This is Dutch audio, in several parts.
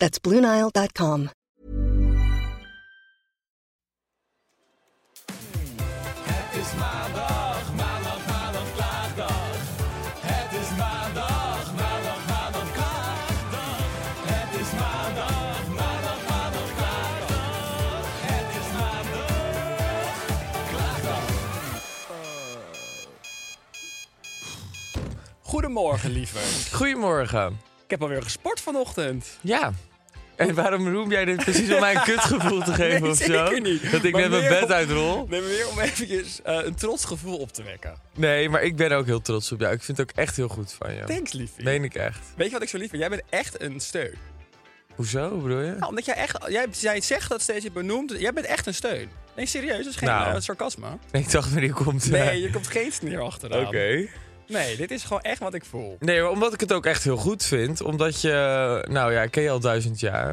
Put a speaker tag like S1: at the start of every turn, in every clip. S1: That's BlueNile.com.
S2: Goedemorgen, liever.
S3: Goedemorgen.
S2: Ik heb alweer gesport vanochtend.
S3: Ja. En waarom roem jij dit precies om mij een kutgevoel te geven
S2: Nee,
S3: of zo?
S2: zeker niet.
S3: Dat ik
S2: Maar
S3: net mijn
S2: meer
S3: bed
S2: om-
S3: uitrol?
S2: Nee, maar weer om eventjes eh, een trots gevoel op te wekken.
S3: Nee, maar ik ben ook heel trots op jou. Ik vind het ook echt heel goed van jou.
S2: Thanks, liefie.
S3: Meen ik echt.
S2: Weet je wat ik zo lief vind? Jij bent echt een steun.
S3: Hoezo, hoe bedoel je?
S2: Nou, omdat jij echt... Jij, jij zegt dat steeds, je benoemt... Jij bent echt een steun. Nee, serieus. Dat is geen
S3: Nou.
S2: eh, sarcasme.
S3: Nee, ik dacht maar die komt. eh,
S2: Nee, je komt geen sneer achteraan.
S3: Oké.
S2: Nee, dit is gewoon echt wat ik voel.
S3: Nee, maar omdat ik het ook echt heel goed vind. Omdat je... Nou ja, ik ken je al duizend jaar.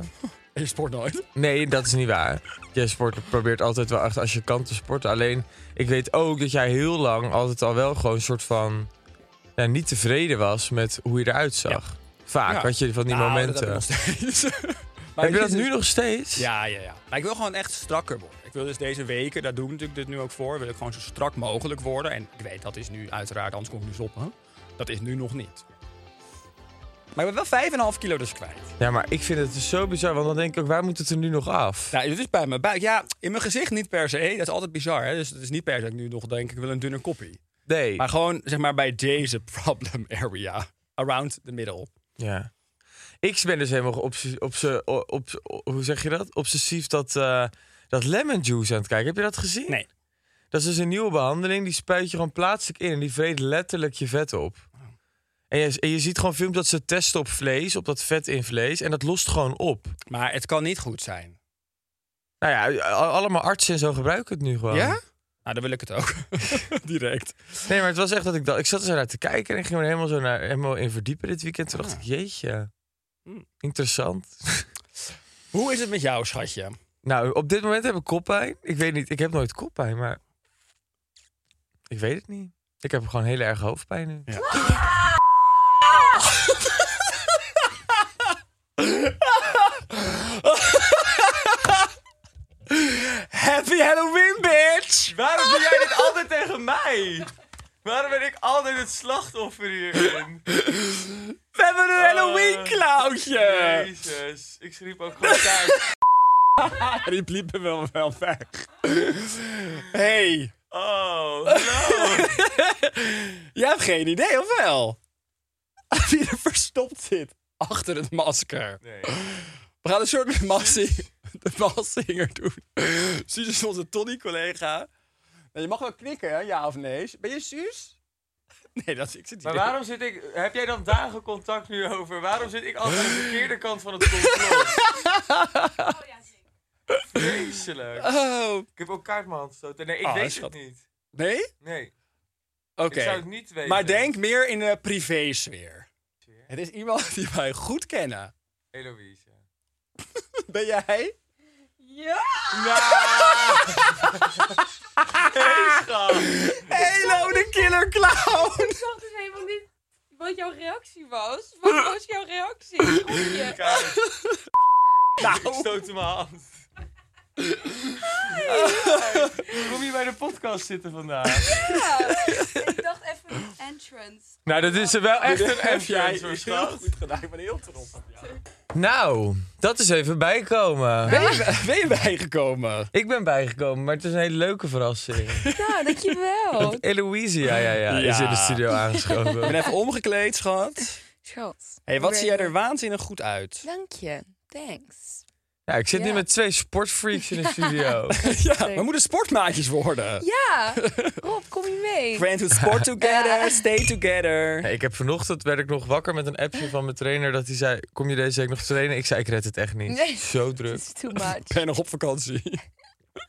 S2: En je sport nooit.
S3: Nee, dat is niet waar. Jij sport, probeert altijd wel echt als je kan te sporten. Alleen, ik weet ook dat jij heel lang altijd al wel gewoon een soort van... Ja, niet tevreden was met hoe je eruit zag. Vaak
S2: Ja.
S3: had je Ah, van die
S2: Nou,
S3: momenten.
S2: Dat heb ik nog steeds. Maar
S3: Heb je dat
S2: is dus-
S3: nu nog steeds?
S2: Ja, ja, ja. Maar ik wil gewoon echt strakker worden. Ik wil dus deze weken, daar doen we natuurlijk dit nu ook voor, wil ik gewoon zo strak mogelijk worden. En ik weet, dat is nu uiteraard, anders kom ik nu stoppen. Dat is nu nog niet. Maar ik ben wel 5,5 kilo dus kwijt.
S3: Ja, maar ik vind het dus zo bizar, want dan denk ik ook, waar moet het er nu nog af?
S2: Nou, dit is bij mijn buik. Ja, in mijn gezicht niet per se. Dat is altijd bizar, hè. Dus het is niet per se dat ik nu nog denk, ik wil een dunne koppie.
S3: Nee.
S2: Maar gewoon, zeg maar, bij deze problem area. Around the middle.
S3: Ja. Ik ben dus helemaal op, op, op, op, hoe zeg je dat? Obsessief dat, eh, dat lemon juice aan het kijken. Heb je dat gezien?
S2: Nee.
S3: Dat is dus een nieuwe behandeling. Die spuit je gewoon plaatselijk in en die vreet letterlijk je vet op. En je, en je ziet gewoon filmpjes dat ze testen op vlees, op dat vet in vlees. En dat lost gewoon op.
S2: Maar het kan niet goed zijn.
S3: Nou ja, a- allemaal artsen en zo gebruiken het nu gewoon.
S2: Ja? Nou, dan wil ik het ook. Direct.
S3: Nee, maar het was echt dat ik dat. Ik zat er zo naar te kijken en ik ging er helemaal zo naar helemaal in verdiepen dit weekend. Toen dacht ik, jeetje, interessant.
S2: Hoe is het met jou, schatje?
S3: Nou, op dit moment heb ik koppijn. Ik weet niet, ik heb nooit koppijn, maar ik weet het niet. Ik heb gewoon heel erg hoofdpijn nu.
S2: Happy Halloween, bitch!
S3: Waarom doe jij dit altijd tegen mij? Waarom ben ik altijd het slachtoffer hierin?
S2: We hebben een Halloween
S3: Eh,
S2: clownje.
S3: Jezus, ik schreef ook gewoon thuis.
S2: Ah, die bliepen wel wel weg. Hey,
S3: Oh,
S2: jij hebt geen idee of wel? Wie er verstopt zit achter het masker.
S3: Nee.
S2: We gaan een soort massing, de valsinger doen. Suus is onze Tony-collega. Nou, je mag wel knikken, hè? ja of nee. Ben je Suus? Nee, dat is ik zit hier.
S3: Maar waarom zit ik... Heb jij dan dagen contact nu over? Waarom zit ik altijd aan de verkeerde kant van het complot? Vreselijk.
S2: Oh,
S3: Ik heb ook kaart mijn hand gestoten. Nee, ik
S2: Ah,
S3: weet
S2: schat.
S3: het niet.
S2: nee? Oké.
S3: Nee, ik zou het niet weten.
S2: Maar denk meer in de privésfeer. Het is iemand die wij goed kennen.
S3: Eloïse.
S2: Ben jij? Ja! Hello, de killer clown!
S4: Ik zag dus helemaal niet wat jouw reactie was. Wat was jouw reactie? Goeie.
S3: Kaart, ik
S2: Nou,
S3: stoot mijn hand. Kom je bij de podcast zitten vandaag?
S4: Ik dacht even een entrance.
S3: Nou, dat is wel echt
S2: dit
S3: een
S2: heb jij
S3: entrance, hoor,
S2: heel
S3: schat.
S2: goed gedaan. Ik ben heel trots op jou.
S3: Nou, dat is even bijkomen.
S2: Ben je, ben je bijgekomen?
S3: Ik ben bijgekomen, maar het is een hele leuke verrassing.
S4: Nou, dankjewel.
S3: Want Eloise, ja, ja, ja, is
S2: Ja.
S3: in de studio
S2: Ik
S3: aangeschoven.
S2: ben even omgekleed, schat.
S4: Schat.
S2: hey, wat
S4: Ik
S2: zie
S4: ben-
S2: jij er waanzinnig goed uit?
S4: Dank je. Thanks.
S3: Ja, ik zit nu
S4: Ja.
S3: met twee sportfreaks in de studio.
S2: Ja, we moeten sportmaatjes worden.
S4: Ja, Rob, kom je mee?
S2: Friends with sport together, stay together.
S3: Nee, ik heb vanochtend werd ik nog wakker met een appje van mijn trainer dat hij zei: Kom je deze week nog trainen? Ik zei: Ik red het echt niet.
S4: Nee.
S3: Zo
S4: Dit
S3: druk.
S4: is too much.
S2: Ik ben nog op vakantie.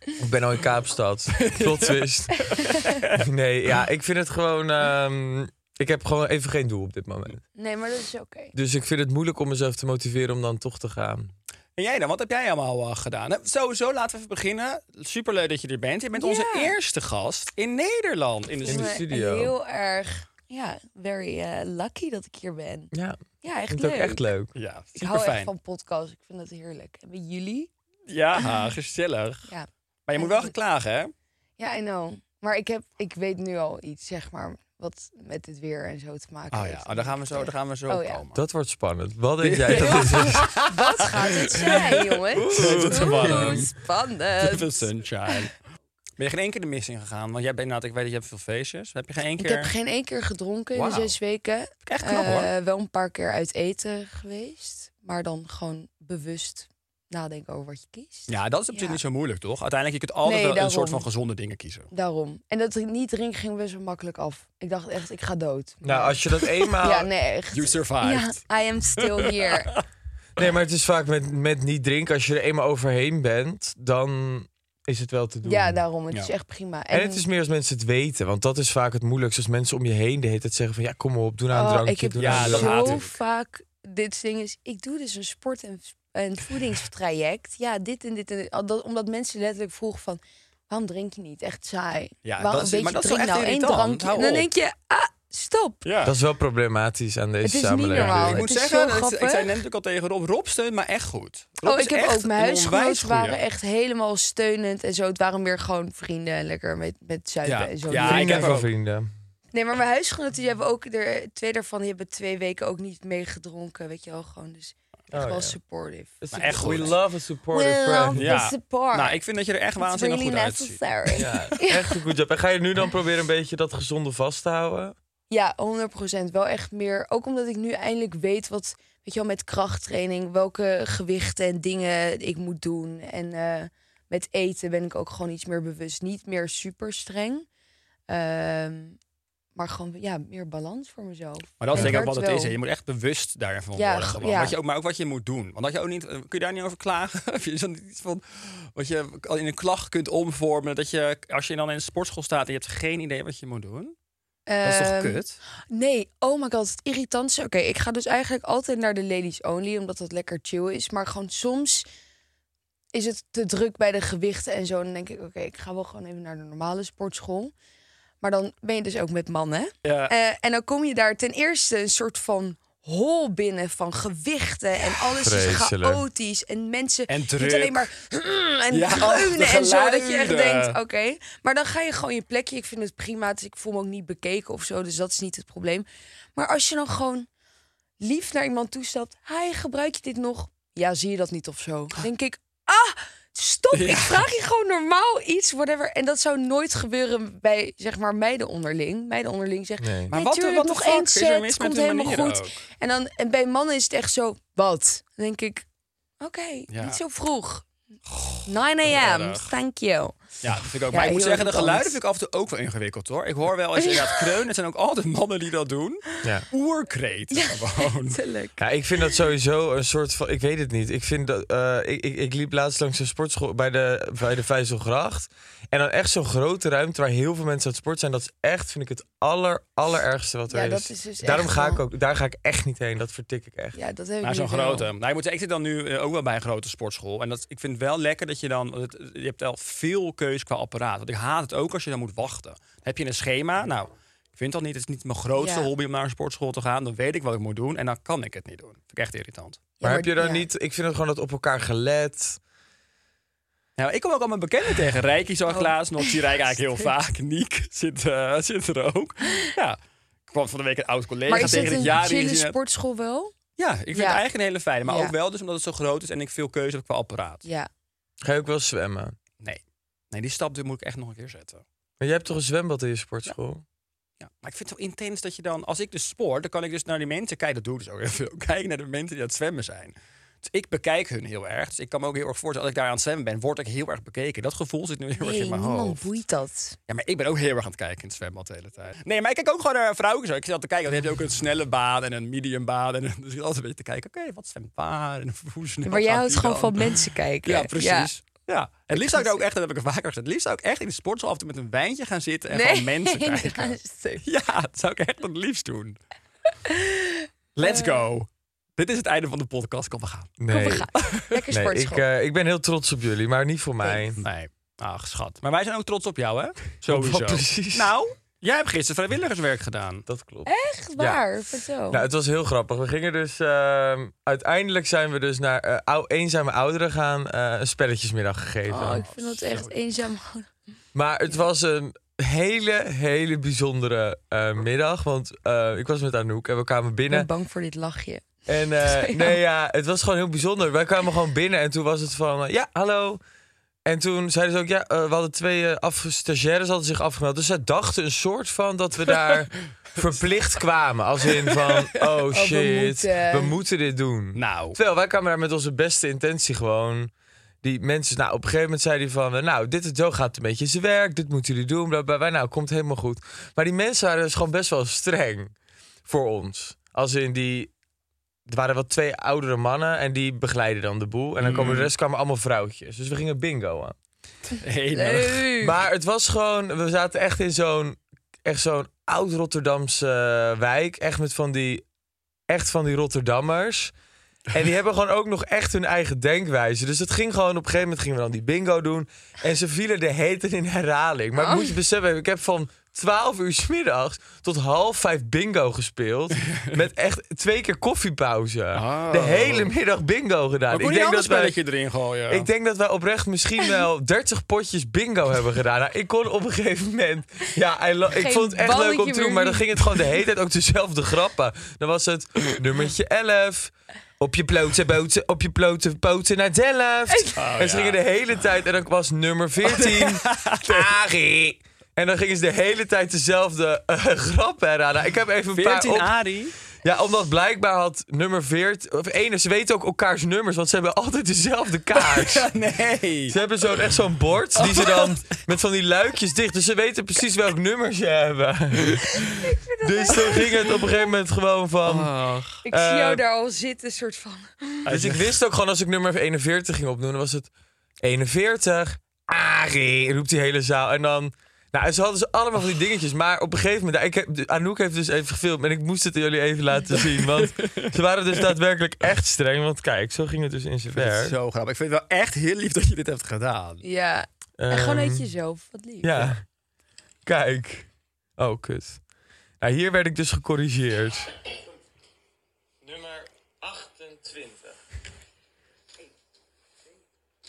S3: Ik ben al in Kaapstad. Plot twist. Nee, ja, ik vind het gewoon. ehm, ik heb gewoon even geen doel op dit moment.
S4: Nee, maar dat is oké.
S3: Dus ik vind het moeilijk om mezelf te motiveren om dan toch te gaan.
S2: En jij dan, wat heb jij allemaal eh, gedaan? Nou, sowieso, laten we even beginnen. Superleuk dat je er bent. Je bent onze
S4: Ja.
S2: eerste gast in Nederland. In de
S3: In de
S4: Maar
S3: studio.
S4: Heel erg, ja, very eh, lucky dat ik hier ben.
S3: Ja,
S4: Ja,
S3: ik
S4: echt
S3: vind het
S4: leuk.
S3: ook echt leuk.
S2: Ja,
S4: Ik hou
S2: super
S4: echt
S2: fijn.
S4: van podcasts. Ik vind dat heerlijk. En bij jullie?
S2: Ja, gezellig.
S4: Ja.
S2: Maar je moet wel gaan klagen, hè?
S4: Ja, I know. Maar ik, heb, ik weet nu al iets, zeg maar, wat met het weer en zo te maken
S2: Oh
S4: heeft.
S2: ja, oh, daar gaan we zo, daar gaan we zo
S4: Oh
S2: op
S4: ja.
S2: komen.
S3: Dat wordt spannend. Wat denk jij dat dit is?
S4: Wat gaat het zijn, jongens?
S2: Oeh, wat
S4: Oeh,
S2: spannend. Little
S4: spannend.
S2: sunshine. Ben je geen één keer de mis in gegaan? Want jij bent, nou, ik weet dat je hebt veel feestjes. Heb je geen één
S4: Ik
S2: keer...
S4: heb geen één keer gedronken in
S2: Wauw.
S4: de zes weken.
S2: Echt knap,
S4: Eh,
S2: hoor.
S4: Wel een paar keer uit eten geweest. Maar dan gewoon bewust nadenken over wat je kiest.
S2: Ja, dat is op zich
S4: Ja.
S2: niet zo moeilijk, toch? Uiteindelijk, je kunt altijd
S4: Nee,
S2: wel een
S4: daarom.
S2: soort van gezonde dingen kiezen.
S4: Daarom. En dat niet drinken ging best wel makkelijk af. Ik dacht echt, ik ga dood.
S3: Nou, als je dat eenmaal.
S4: Ja, nee, echt.
S2: You survived.
S4: Ja, I am still here.
S3: Nee, maar het is vaak met, met niet drinken. Als je er eenmaal overheen bent, dan is het wel te doen.
S4: ja, daarom. Het
S2: Ja.
S4: is echt prima.
S3: En het is meer als mensen het weten, want dat is vaak het moeilijkste. Als mensen om je heen de hele tijd zeggen van ja, kom op, doe nou een
S4: Oh,
S3: drankje,
S4: ik heb
S3: doe
S2: Ja,
S3: nou een
S2: dat
S3: drankje.
S2: haat
S4: zo
S2: eh, ik.
S4: vaak dit ding is... Ik doe dus een sport- en, en voedingstraject. Ja, dit en dit en dit. Al dat- Omdat mensen letterlijk vroegen van... Waarom drink je niet? Echt saai.
S2: Ja,
S4: Waarom,
S2: dat is-
S4: weet
S2: maar
S4: je,
S2: dat is wel
S4: drink
S2: echt
S4: nou één
S2: irritant.
S4: drankje.
S2: Hou
S4: En dan
S2: op.
S4: denk je, ah, stop.
S2: Ja.
S3: Dat is wel problematisch aan deze
S4: Het is niet
S3: samenleving.
S4: normaal.
S2: Ik
S4: Het
S2: moet
S4: is
S2: zeggen,
S4: zo
S2: dat- ik
S4: grappig.
S2: zei net natuurlijk al tegen Rob, Rob steunt maar echt goed. Rob
S4: Oh,
S2: is
S4: ik heb
S2: echt
S4: ook mijn
S2: een onwijs
S4: huisgenoten
S2: goeie.
S4: waren echt helemaal steunend en zo. Het waren meer gewoon vrienden en lekker met, met zuipen
S2: Ja.
S4: en zo.
S2: Ja,
S3: Vrienden
S2: ik heb
S3: van
S2: ook.
S3: vrienden.
S4: Nee, maar mijn huisgenoten die hebben ook er twee daarvan die hebben twee weken ook niet meegedronken, weet je wel, gewoon dus echt
S3: Oh,
S4: wel
S3: ja.
S4: supportive.
S2: Maar echt goed.
S3: We love a supportive
S4: We
S3: friend.
S4: love-
S3: Ja.
S4: Ja. de support.
S2: Nou, ik vind dat je er echt
S4: It's
S2: waanzinnig
S4: really
S2: goed uitziet.
S4: necessary. Ja,
S3: Echt een goed job. En ga je nu dan proberen een beetje dat gezonde vast te houden?
S4: 100% wel echt meer. Ook omdat ik nu eindelijk weet wat, weet je wel, met krachttraining welke gewichten en dingen ik moet doen en eh, met eten ben ik ook gewoon iets meer bewust, niet meer super streng. Ehm, maar gewoon ja, meer balans voor mezelf.
S2: Maar dat is
S4: Ja.
S2: denk ik ook wat het
S4: Wel.
S2: is. hè. Je moet echt bewust daarvan
S4: Ja,
S2: worden.
S4: g-
S2: Gewoon.
S4: ja.
S2: Wat je ook, maar ook wat je moet doen. Want dat je ook niet, eh, kun je daar niet over klagen? Heb je dan niet iets van wat je al in een klacht kunt omvormen? Dat je, als je dan in een sportschool staat en je hebt geen idee wat je moet doen. Dat is toch
S4: Ehm,
S2: kut?
S4: Nee, oh my god, het irritantste. Oké, ik ga dus eigenlijk altijd naar de ladies only, omdat dat lekker chill is. Maar gewoon soms is het te druk bij de gewichten en zo. En dan denk ik, oké, ik ga wel gewoon even naar de normale sportschool. Maar dan ben je dus ook met mannen.
S2: Ja.
S4: Eh, en dan kom je daar ten eerste een soort van hol binnen van gewichten. En alles is
S3: vreselijk.
S4: chaotisch. En mensen
S2: En
S4: moeten
S2: druk.
S4: alleen maar mm, en
S2: Ja,
S4: dreunen
S2: de
S4: en zo. Dat je echt
S2: geluiden.
S4: denkt, oké. Maar dan ga je gewoon je plekje. Ik vind het prima. Dus ik voel me ook niet bekeken of zo. Dus dat is niet het probleem. Maar als je dan gewoon lief naar iemand toestapt. Hi, gebruik je dit nog? Ja, zie je dat niet of zo? Denk ik, ah, stop. Ik vraag je gewoon normaal iets, whatever. En dat zou nooit gebeuren bij, zeg maar, meiden onderling. Meiden onderling zeggen,
S3: Nee.
S2: Maar
S4: maar
S2: wat-
S4: wat, tuurlijk,
S2: wat de
S4: nog
S2: fuck
S4: één
S2: is er
S4: set,
S2: mis met
S4: komt
S2: hun
S4: helemaal
S2: manieren
S4: goed.
S2: ook?
S4: En, dan, en bij mannen is het echt zo, wat? Dan denk ik, oké,
S2: Ja.
S4: niet zo vroeg. 9 a.m.,
S2: erg.
S4: thank you.
S2: Ja, dat vind ik ook.
S4: Ja,
S2: maar ik moet
S4: heel
S2: zeggen, de
S4: irritant.
S2: geluiden vind ik af en toe ook wel ingewikkeld hoor. Ik hoor wel als je inderdaad kreunen, het zijn ook altijd mannen die dat doen.
S3: Ja.
S2: Oerkreten gewoon.
S4: Tuurlijk.
S3: Ja, ik vind dat sowieso een soort van. Ik weet het niet. Ik vind dat. eh, ik, ik, ik liep laatst langs een sportschool bij de, bij de Vijzelgracht. En dan echt zo'n grote ruimte waar heel veel mensen aan het sport zijn. Dat is echt, vind ik, het aller, allerergste wat er
S4: Ja,
S3: is.
S4: dat is dus
S3: Daarom
S4: echt
S3: ga ik
S4: wel-
S3: ook. Daar ga ik echt niet heen. Dat vertik ik echt.
S4: Ja, dat heb ik
S2: Maar zo'n
S4: nu wel.
S2: grote. Nou, ik, moet zeggen, ik zit dan nu eh, ook wel bij een grote sportschool. En dat, ik vind het wel lekker dat je dan... want het- je hebt wel veel keus qua apparaat. Want ik haat het ook als je dan moet wachten. Heb je een schema? Nou, ik vind dat niet. Het is niet mijn grootste
S4: Ja.
S2: hobby om naar een sportschool te gaan. Dan weet ik wat ik moet doen en dan kan ik het niet doen. Vind ik echt irritant.
S4: Ja,
S3: maar, heb je dan
S4: ja.
S3: niet. Ik vind het gewoon dat op elkaar gelet.
S2: Nou, ik kom ook allemaal bekenden tegen. Rijkie zag
S4: Oh.
S2: ik laatst nog. Die rijk eigenlijk heel vaak. Niek zit, eh, zit er ook. Ja. Ik kwam van de week een oud collega
S4: Maar is
S2: tegen
S4: het
S2: het
S4: een
S2: jaar die
S4: chille
S2: gezien heb.
S4: sportschool wel?
S2: Ja, ik vind
S4: Ja.
S2: het eigenlijk een hele fijne. Maar
S4: Ja.
S2: ook wel dus omdat het zo groot is en ik veel keuze heb qua apparaat.
S4: Ja.
S3: Ga je ook wel zwemmen?
S2: Nee. Nee, die stap die moet ik echt nog een keer zetten.
S3: Maar jij hebt toch een zwembad in je sportschool?
S2: Ja. Maar ik vind het zo intens dat je dan... Als ik dus sport, dan kan ik dus naar die mensen kijken. Dat doe ik dus ook heel veel. Kijken naar de mensen die aan het zwemmen zijn. Dus ik bekijk hun heel erg. Dus ik kan me ook heel erg voorstellen... als ik daar aan het zwemmen ben, word ik heel erg bekeken. Dat gevoel zit nu heel erg
S4: Nee,
S2: in mijn
S4: niemand
S2: hoofd.
S4: boeit dat.
S2: Ja, maar ik ben ook heel erg aan het kijken in het zwembad de hele tijd. Nee, maar ik kijk ook gewoon naar vrouwen. Zo. Ik zat te kijken, want je hebt ook een snelle baan en een medium baan. En, dus ik zat altijd een beetje te kijken, oké, wat zwemt waar? En hoe snel
S4: Maar jij
S2: gaat
S4: houdt
S2: die
S4: gewoon
S2: dan?
S4: van mensen kijken.
S2: Ja, precies. Ja. En het liefst zou ik daar ook echt, dat heb ik al vaker gezegd, het liefst zou ik echt in de sportzaal af en toe met een wijntje gaan zitten en gewoon mensen kijken.
S4: luister.
S2: Ja, dat zou ik echt het liefst doen. Let's go. Dit is het einde van de podcast. Kom, we gaan.
S3: Nee.
S4: we gaan. Lekker
S3: Nee,
S4: sportschool.
S3: ik, eh, ik ben heel trots op jullie, maar niet voor mij.
S2: Nee. Ach, schat. Maar wij zijn ook trots op jou, hè? Sowieso.
S3: Wat precies?
S2: Nou, jij hebt gisteren vrijwilligerswerk gedaan.
S3: Dat klopt.
S4: Echt waar? Vertel.
S3: Nou, het was heel grappig. We gingen dus... ehm, uiteindelijk zijn we dus naar eh, ou- eenzame ouderen gaan eh, een spelletjesmiddag gegeven.
S4: oh, ik vind dat echt eenzaam.
S3: Maar het was een hele, hele bijzondere eh, middag. Want eh, ik was met Anouk en we kwamen
S4: Ik
S3: binnen.
S4: ben bang voor dit lachje.
S3: En eh, nee, ja, het was gewoon heel bijzonder. Wij kwamen gewoon binnen en toen was het van, eh, ja, hallo. En toen zeiden ze ook, ja, eh, we hadden twee eh, af, stagiaires hadden zich afgemeld. Dus zij dachten een soort van dat we daar verplicht kwamen. Als in van, oh shit,
S4: moeten.
S3: we moeten dit doen.
S2: Nou.
S3: Terwijl wij kwamen daar met onze beste intentie gewoon. Die mensen, nou, op een gegeven moment zei hij van... eh, Nou, dit en zo gaat het een beetje in zijn werk. Dit moeten jullie doen. Bla, bla, bla. Nou, komt helemaal goed. Maar die mensen waren dus gewoon best wel streng voor ons. Als in die... Er waren wel twee oudere mannen en die begeleiden dan de boel. En dan komen de rest kwamen allemaal vrouwtjes. Dus we gingen bingo aan.
S2: Hele
S4: Leuk.
S3: Maar het was gewoon... We zaten echt in zo'n... Echt zo'n oud-Rotterdamse eh, wijk. Echt met van die... Echt van die Rotterdammers. En die hebben gewoon ook nog echt hun eigen denkwijze. Dus het ging gewoon... Op een gegeven moment gingen we dan die bingo doen. En ze vielen de heten in herhaling.
S2: Oh.
S3: Maar ik moet je beseffen... Ik heb van 12 uur 's middags tot half vijf bingo gespeeld. Met echt twee keer koffiepauze.
S2: Oh.
S3: De hele middag bingo gedaan.
S2: Maar kon je een ander spelletje erin gooien?
S3: Ik denk dat wij oprecht misschien wel 30 potjes bingo hebben gedaan. Nou, ik kon op een gegeven moment. Ja, I lo- ik
S4: Geen
S3: vond het echt leuk om
S4: balletje
S3: te doen,
S4: meer
S3: maar dan
S4: niet.
S3: ging het gewoon de hele tijd ook dezelfde grappen. Dan was het nummertje 11. Op je blote boten, op je blote poten naar Delft. en ze
S2: ja.
S3: gingen de hele tijd, en dan was nummer 14. Ari. En dan gingen ze de hele tijd dezelfde eh, grappen herhalen. Nou, Ik heb even een paar
S2: 14
S3: op...
S2: Ari.
S3: Ja, omdat blijkbaar had nummer 14... Of 1, ze weten ook elkaars nummers, want ze hebben altijd dezelfde kaars.
S2: Nee.
S3: Ze hebben zo'n, echt zo'n bord die ze dan met van die luikjes dicht. Dus ze weten precies welk nummer ze hebben. Dus toen ging het op een gegeven moment gewoon van...
S4: ik zie jou
S3: eh,
S4: daar al zitten, soort van.
S3: Dus ik wist ook gewoon als ik nummer 41 ging opnoemen, dan was het 41, Ari, roept die hele zaal. En dan, nou, en ze hadden ze allemaal van die dingetjes. Maar op een gegeven moment, Nou, ik heb, Anouk heeft dus even gefilmd en ik moest het jullie even laten zien. Want ze waren dus daadwerkelijk echt streng. Want kijk, zo ging het dus in zijn werk.
S2: Zo grappig. Ik vind het wel echt heel lief dat je dit hebt gedaan.
S4: Ja. en gewoon
S3: Ehm,
S4: uit jezelf. Wat lief.
S3: Ja. Kijk. Oh, kut. Nou, hier werd ik dus gecorrigeerd. Nummer 28.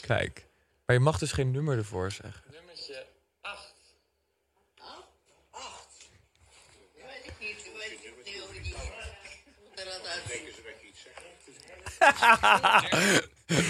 S3: Kijk. Maar je mag dus geen nummer ervoor zeggen. Nummertje 8.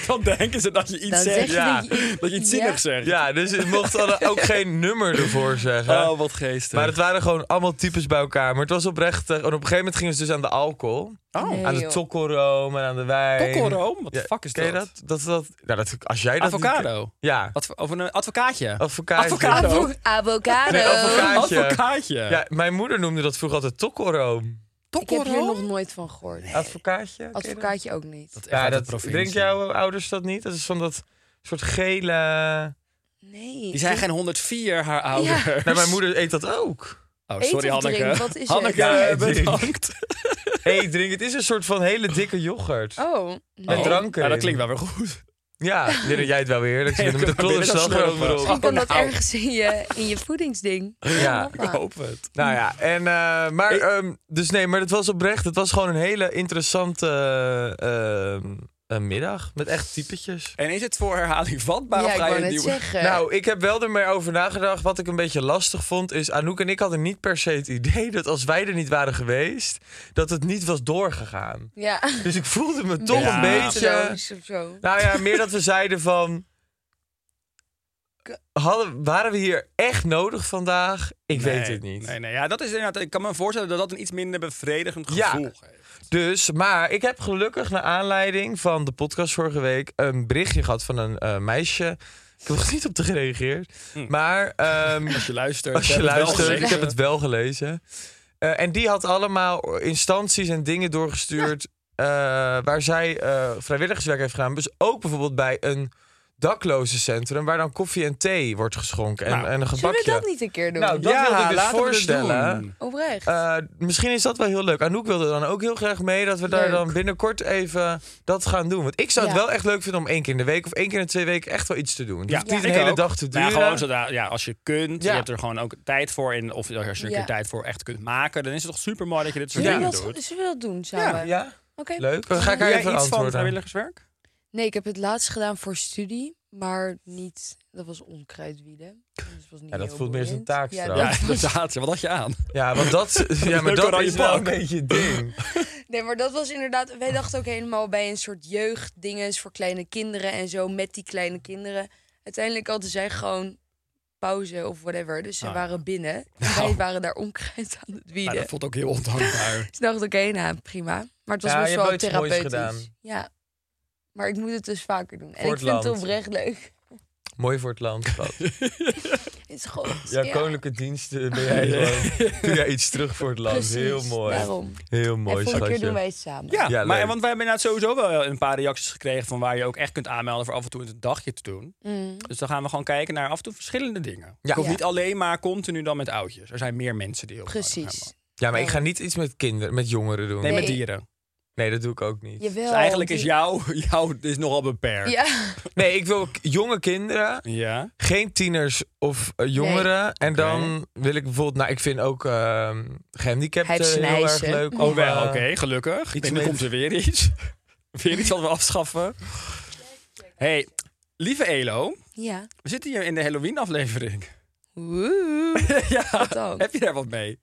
S2: Dan denken ze dat je iets
S4: Dan zeg
S2: zegt.
S4: je
S2: ja.
S4: dat je-
S2: Dat je iets
S4: Ja.
S2: zinnigs zegt.
S3: Ja, dus ik mocht dan ook geen nummer ervoor zeggen.
S2: Oh, wat geestig.
S3: maar het waren gewoon allemaal types bij elkaar. Maar het was oprecht... eh, en op een gegeven moment gingen ze dus aan de alcohol.
S2: Oh.
S4: Nee,
S3: aan de
S4: joh.
S3: tokkelroom en aan de wijn.
S2: Tokkelroom? Wat de
S3: Ja,
S2: fuck is
S3: ken je
S2: dat?
S3: dat? Dat, dat, nou, dat? Als jij dat...
S2: Avocado.
S3: Ja.
S2: Wat voor, over een advocaatje.
S3: Advocaatje.
S2: Avocado.
S4: Avo- avocado.
S3: Nee, avocado.
S2: Advocaatje.
S3: Ja, mijn moeder noemde dat vroeger altijd tokkelroom.
S4: Ik heb hier
S2: Tokkelroom?
S4: nog nooit van gehoord.
S3: Advocaatje? ken je dat?
S4: Eh, Advocaatje ook niet.
S2: Dat is echt
S3: Ja,
S2: uit de
S3: dat, eh,
S2: provincie.
S3: drinken jouw ouders dat niet? Dat is van dat soort gele...
S4: Nee.
S2: Die zijn geen 104, haar ouders.
S3: Nee, Nou, mijn moeder eet dat ook.
S2: Oh,
S4: Eet
S2: sorry
S4: of
S2: Hanneke.
S4: drink, wat is het?
S2: Hanneke,
S3: Ja,
S2: bedankt.
S3: Hey, drink, het is een soort van hele dikke yoghurt.
S4: Oh. Nee.
S3: Met drank
S2: Ja,
S3: erin.
S2: dat klinkt wel weer goed.
S3: Ja, ik denk dat jij het wel weer heerlijk vindt.
S2: Nee,
S3: Met de
S2: ik kan
S3: klodderslag
S2: binnen slurpen.
S3: eroverop.
S4: Misschien kan dat
S2: nou.
S4: ergens in je, in je voedingsding.
S3: Ja,
S2: Ik hoop het.
S3: nou ja. En, eh, maar,
S2: Ik-
S3: ehm, dus nee, maar dat was oprecht. Het was gewoon een hele interessante... ehm, een middag met echt typetjes.
S2: En is het voor herhaling vatbaar
S4: ja,
S2: of
S4: ik
S2: ga
S4: wou
S2: je
S4: net
S2: nieuwe...
S4: zeggen.
S3: Nou, ik heb wel er meer over nagedacht. Wat ik een beetje lastig vond is... Anouk en ik hadden niet per se het idee dat als wij er niet waren geweest... dat het niet was doorgegaan.
S4: ja.
S3: Dus ik voelde me toch
S2: Ja.
S3: een
S4: Nou,
S3: beetje...
S4: Of zo.
S3: Nou ja, meer dat we zeiden van... Hadden, waren we hier echt nodig vandaag? Ik weet
S2: Nee,
S3: het niet.
S2: Nee, nee, ja, dat is inderdaad, ik kan me voorstellen dat dat een iets minder bevredigend
S3: Ja.
S2: gevoel geeft.
S3: Dus, maar ik heb gelukkig naar aanleiding van de podcast vorige week een berichtje gehad van een eh, meisje. Ik heb er nog niet op te gereageerd.
S2: Hm.
S3: Maar ehm,
S2: Als je
S4: Eh,
S2: luistert.
S3: als je
S2: heb het wel
S3: luistert, ik
S2: gelezen.
S3: heb het wel gelezen. Eh, en die had allemaal instanties en dingen doorgestuurd eh, waar zij eh, vrijwilligerswerk heeft gedaan. Dus ook bijvoorbeeld bij een daklozencentrum waar dan koffie en thee wordt geschonken en,
S2: Nou,
S3: en een
S4: Zullen
S3: gebakje.
S4: we dat niet een keer doen?
S3: Nou, dat
S2: Ja,
S3: wilde ik dus
S2: laten we dit
S3: voorstellen.
S2: doen.
S4: Oprecht.
S3: Eh, misschien is dat wel heel leuk. Anouk wilde dan ook heel graag mee dat we daar
S4: Leuk.
S3: dan binnenkort even dat gaan doen. Want ik zou het
S4: Ja.
S3: wel echt leuk vinden om één keer in de week of één keer in de twee weken echt wel iets te doen. Dus Het
S2: Ja,
S3: hoeft niet
S2: ik
S3: een hele
S2: ook.
S3: dag te
S2: Maar
S3: duren.
S2: ja, gewoon zodra, ja, als je kunt,
S3: Ja.
S2: je hebt er gewoon ook tijd voor. En of als je er een
S4: Ja.
S2: keer tijd voor echt kunt maken, dan is het toch super mooi dat je dit soort
S4: Zullen, we
S2: dingen
S4: dat,
S2: doet.
S4: zullen we dat doen samen?
S3: ja,
S4: Oké.
S3: leuk. Dan ga ik
S2: Doe
S3: haar
S2: jij
S3: even
S2: iets van
S3: antwoorden.
S2: vrijwilligerswerk?
S4: Nee, ik heb het laatst gedaan voor studie, maar niet. Dat was onkruidwieden. Dus het was niet
S3: Ja, dat
S4: heel
S3: voelt meer als een taak
S4: boeiend. Ja,
S3: trouwens.
S2: Ja,
S4: dat-
S2: inderdaad. Wat had je aan?
S3: Ja, want dat, ja, maar
S2: Leuk
S3: dat
S2: oranje
S3: is wel een
S2: pak.
S3: beetje het ding.
S4: Nee, maar dat was inderdaad. Wij dachten ook helemaal bij een soort jeugddinges voor kleine kinderen en zo met die kleine kinderen. Uiteindelijk hadden zij gewoon pauze of whatever. Dus ze
S2: Ah, ja.
S4: waren binnen.
S3: Oh.
S4: En wij waren daar onkruid aan het
S2: Ja,
S4: wieden.
S2: dat voelt ook heel ondankbaar.
S4: Dus ik dacht, oké, nou prima. Maar het was
S3: Ja, je
S4: best
S3: hebt
S4: wel
S3: wel iets moois
S4: therapeutisch.
S3: gedaan.
S4: Ja. Maar ik moet het dus vaker doen. en
S3: Voor
S4: ik
S3: het
S4: vind het
S3: land.
S4: oprecht leuk.
S3: Mooi voor het land. schat.
S4: Het is goed.
S3: Ja, koninklijke diensten ben jij gewoon. Doe jij iets terug voor het land.
S4: Precies,
S3: Heel mooi.
S4: Daarom.
S3: Heel mooi,
S4: en volgende keer doen
S3: schatje.
S4: wij het samen.
S2: Ja,
S3: Ja,
S2: maar,
S3: leuk.
S2: want wij hebben inderdaad sowieso wel een paar reacties gekregen van waar je ook echt kunt aanmelden voor af en toe een dagje te doen.
S4: Mm.
S2: Dus dan gaan we gewoon kijken naar af en toe verschillende dingen.
S3: Ja.
S2: Ik hoef
S4: Ja.
S2: niet alleen maar continu dan met oudjes. Er zijn meer mensen die heel graag
S4: Precies.
S2: hebben.
S3: Ja, maar ik ga niet iets met kinderen, met jongeren doen.
S2: Nee,
S3: Nee,
S4: Nee.
S2: met dieren.
S3: dat doe ik ook niet.
S4: Jawel.
S2: Dus eigenlijk
S4: die-
S2: is jouw, jouw is nogal beperkt.
S4: Ja.
S3: Nee, ik wil k- jonge kinderen,
S2: Ja.
S3: geen tieners of eh, jongeren. En
S2: Oké.
S3: dan wil ik bijvoorbeeld, nou, ik vind ook ehm gehandicapten
S4: Hij
S3: heel erg
S4: snijzen.
S3: leuk.
S2: Oh,
S3: om,
S2: wel,
S3: eh,
S2: oké, gelukkig. Ik denk,
S3: met-
S2: dan komt er weer iets. weer iets wat we afschaffen. hey, lieve Elo.
S4: Ja.
S2: We zitten hier in de Halloween-aflevering.
S4: Woe.
S2: ja,
S4: Wat dan?
S2: heb je daar wat mee?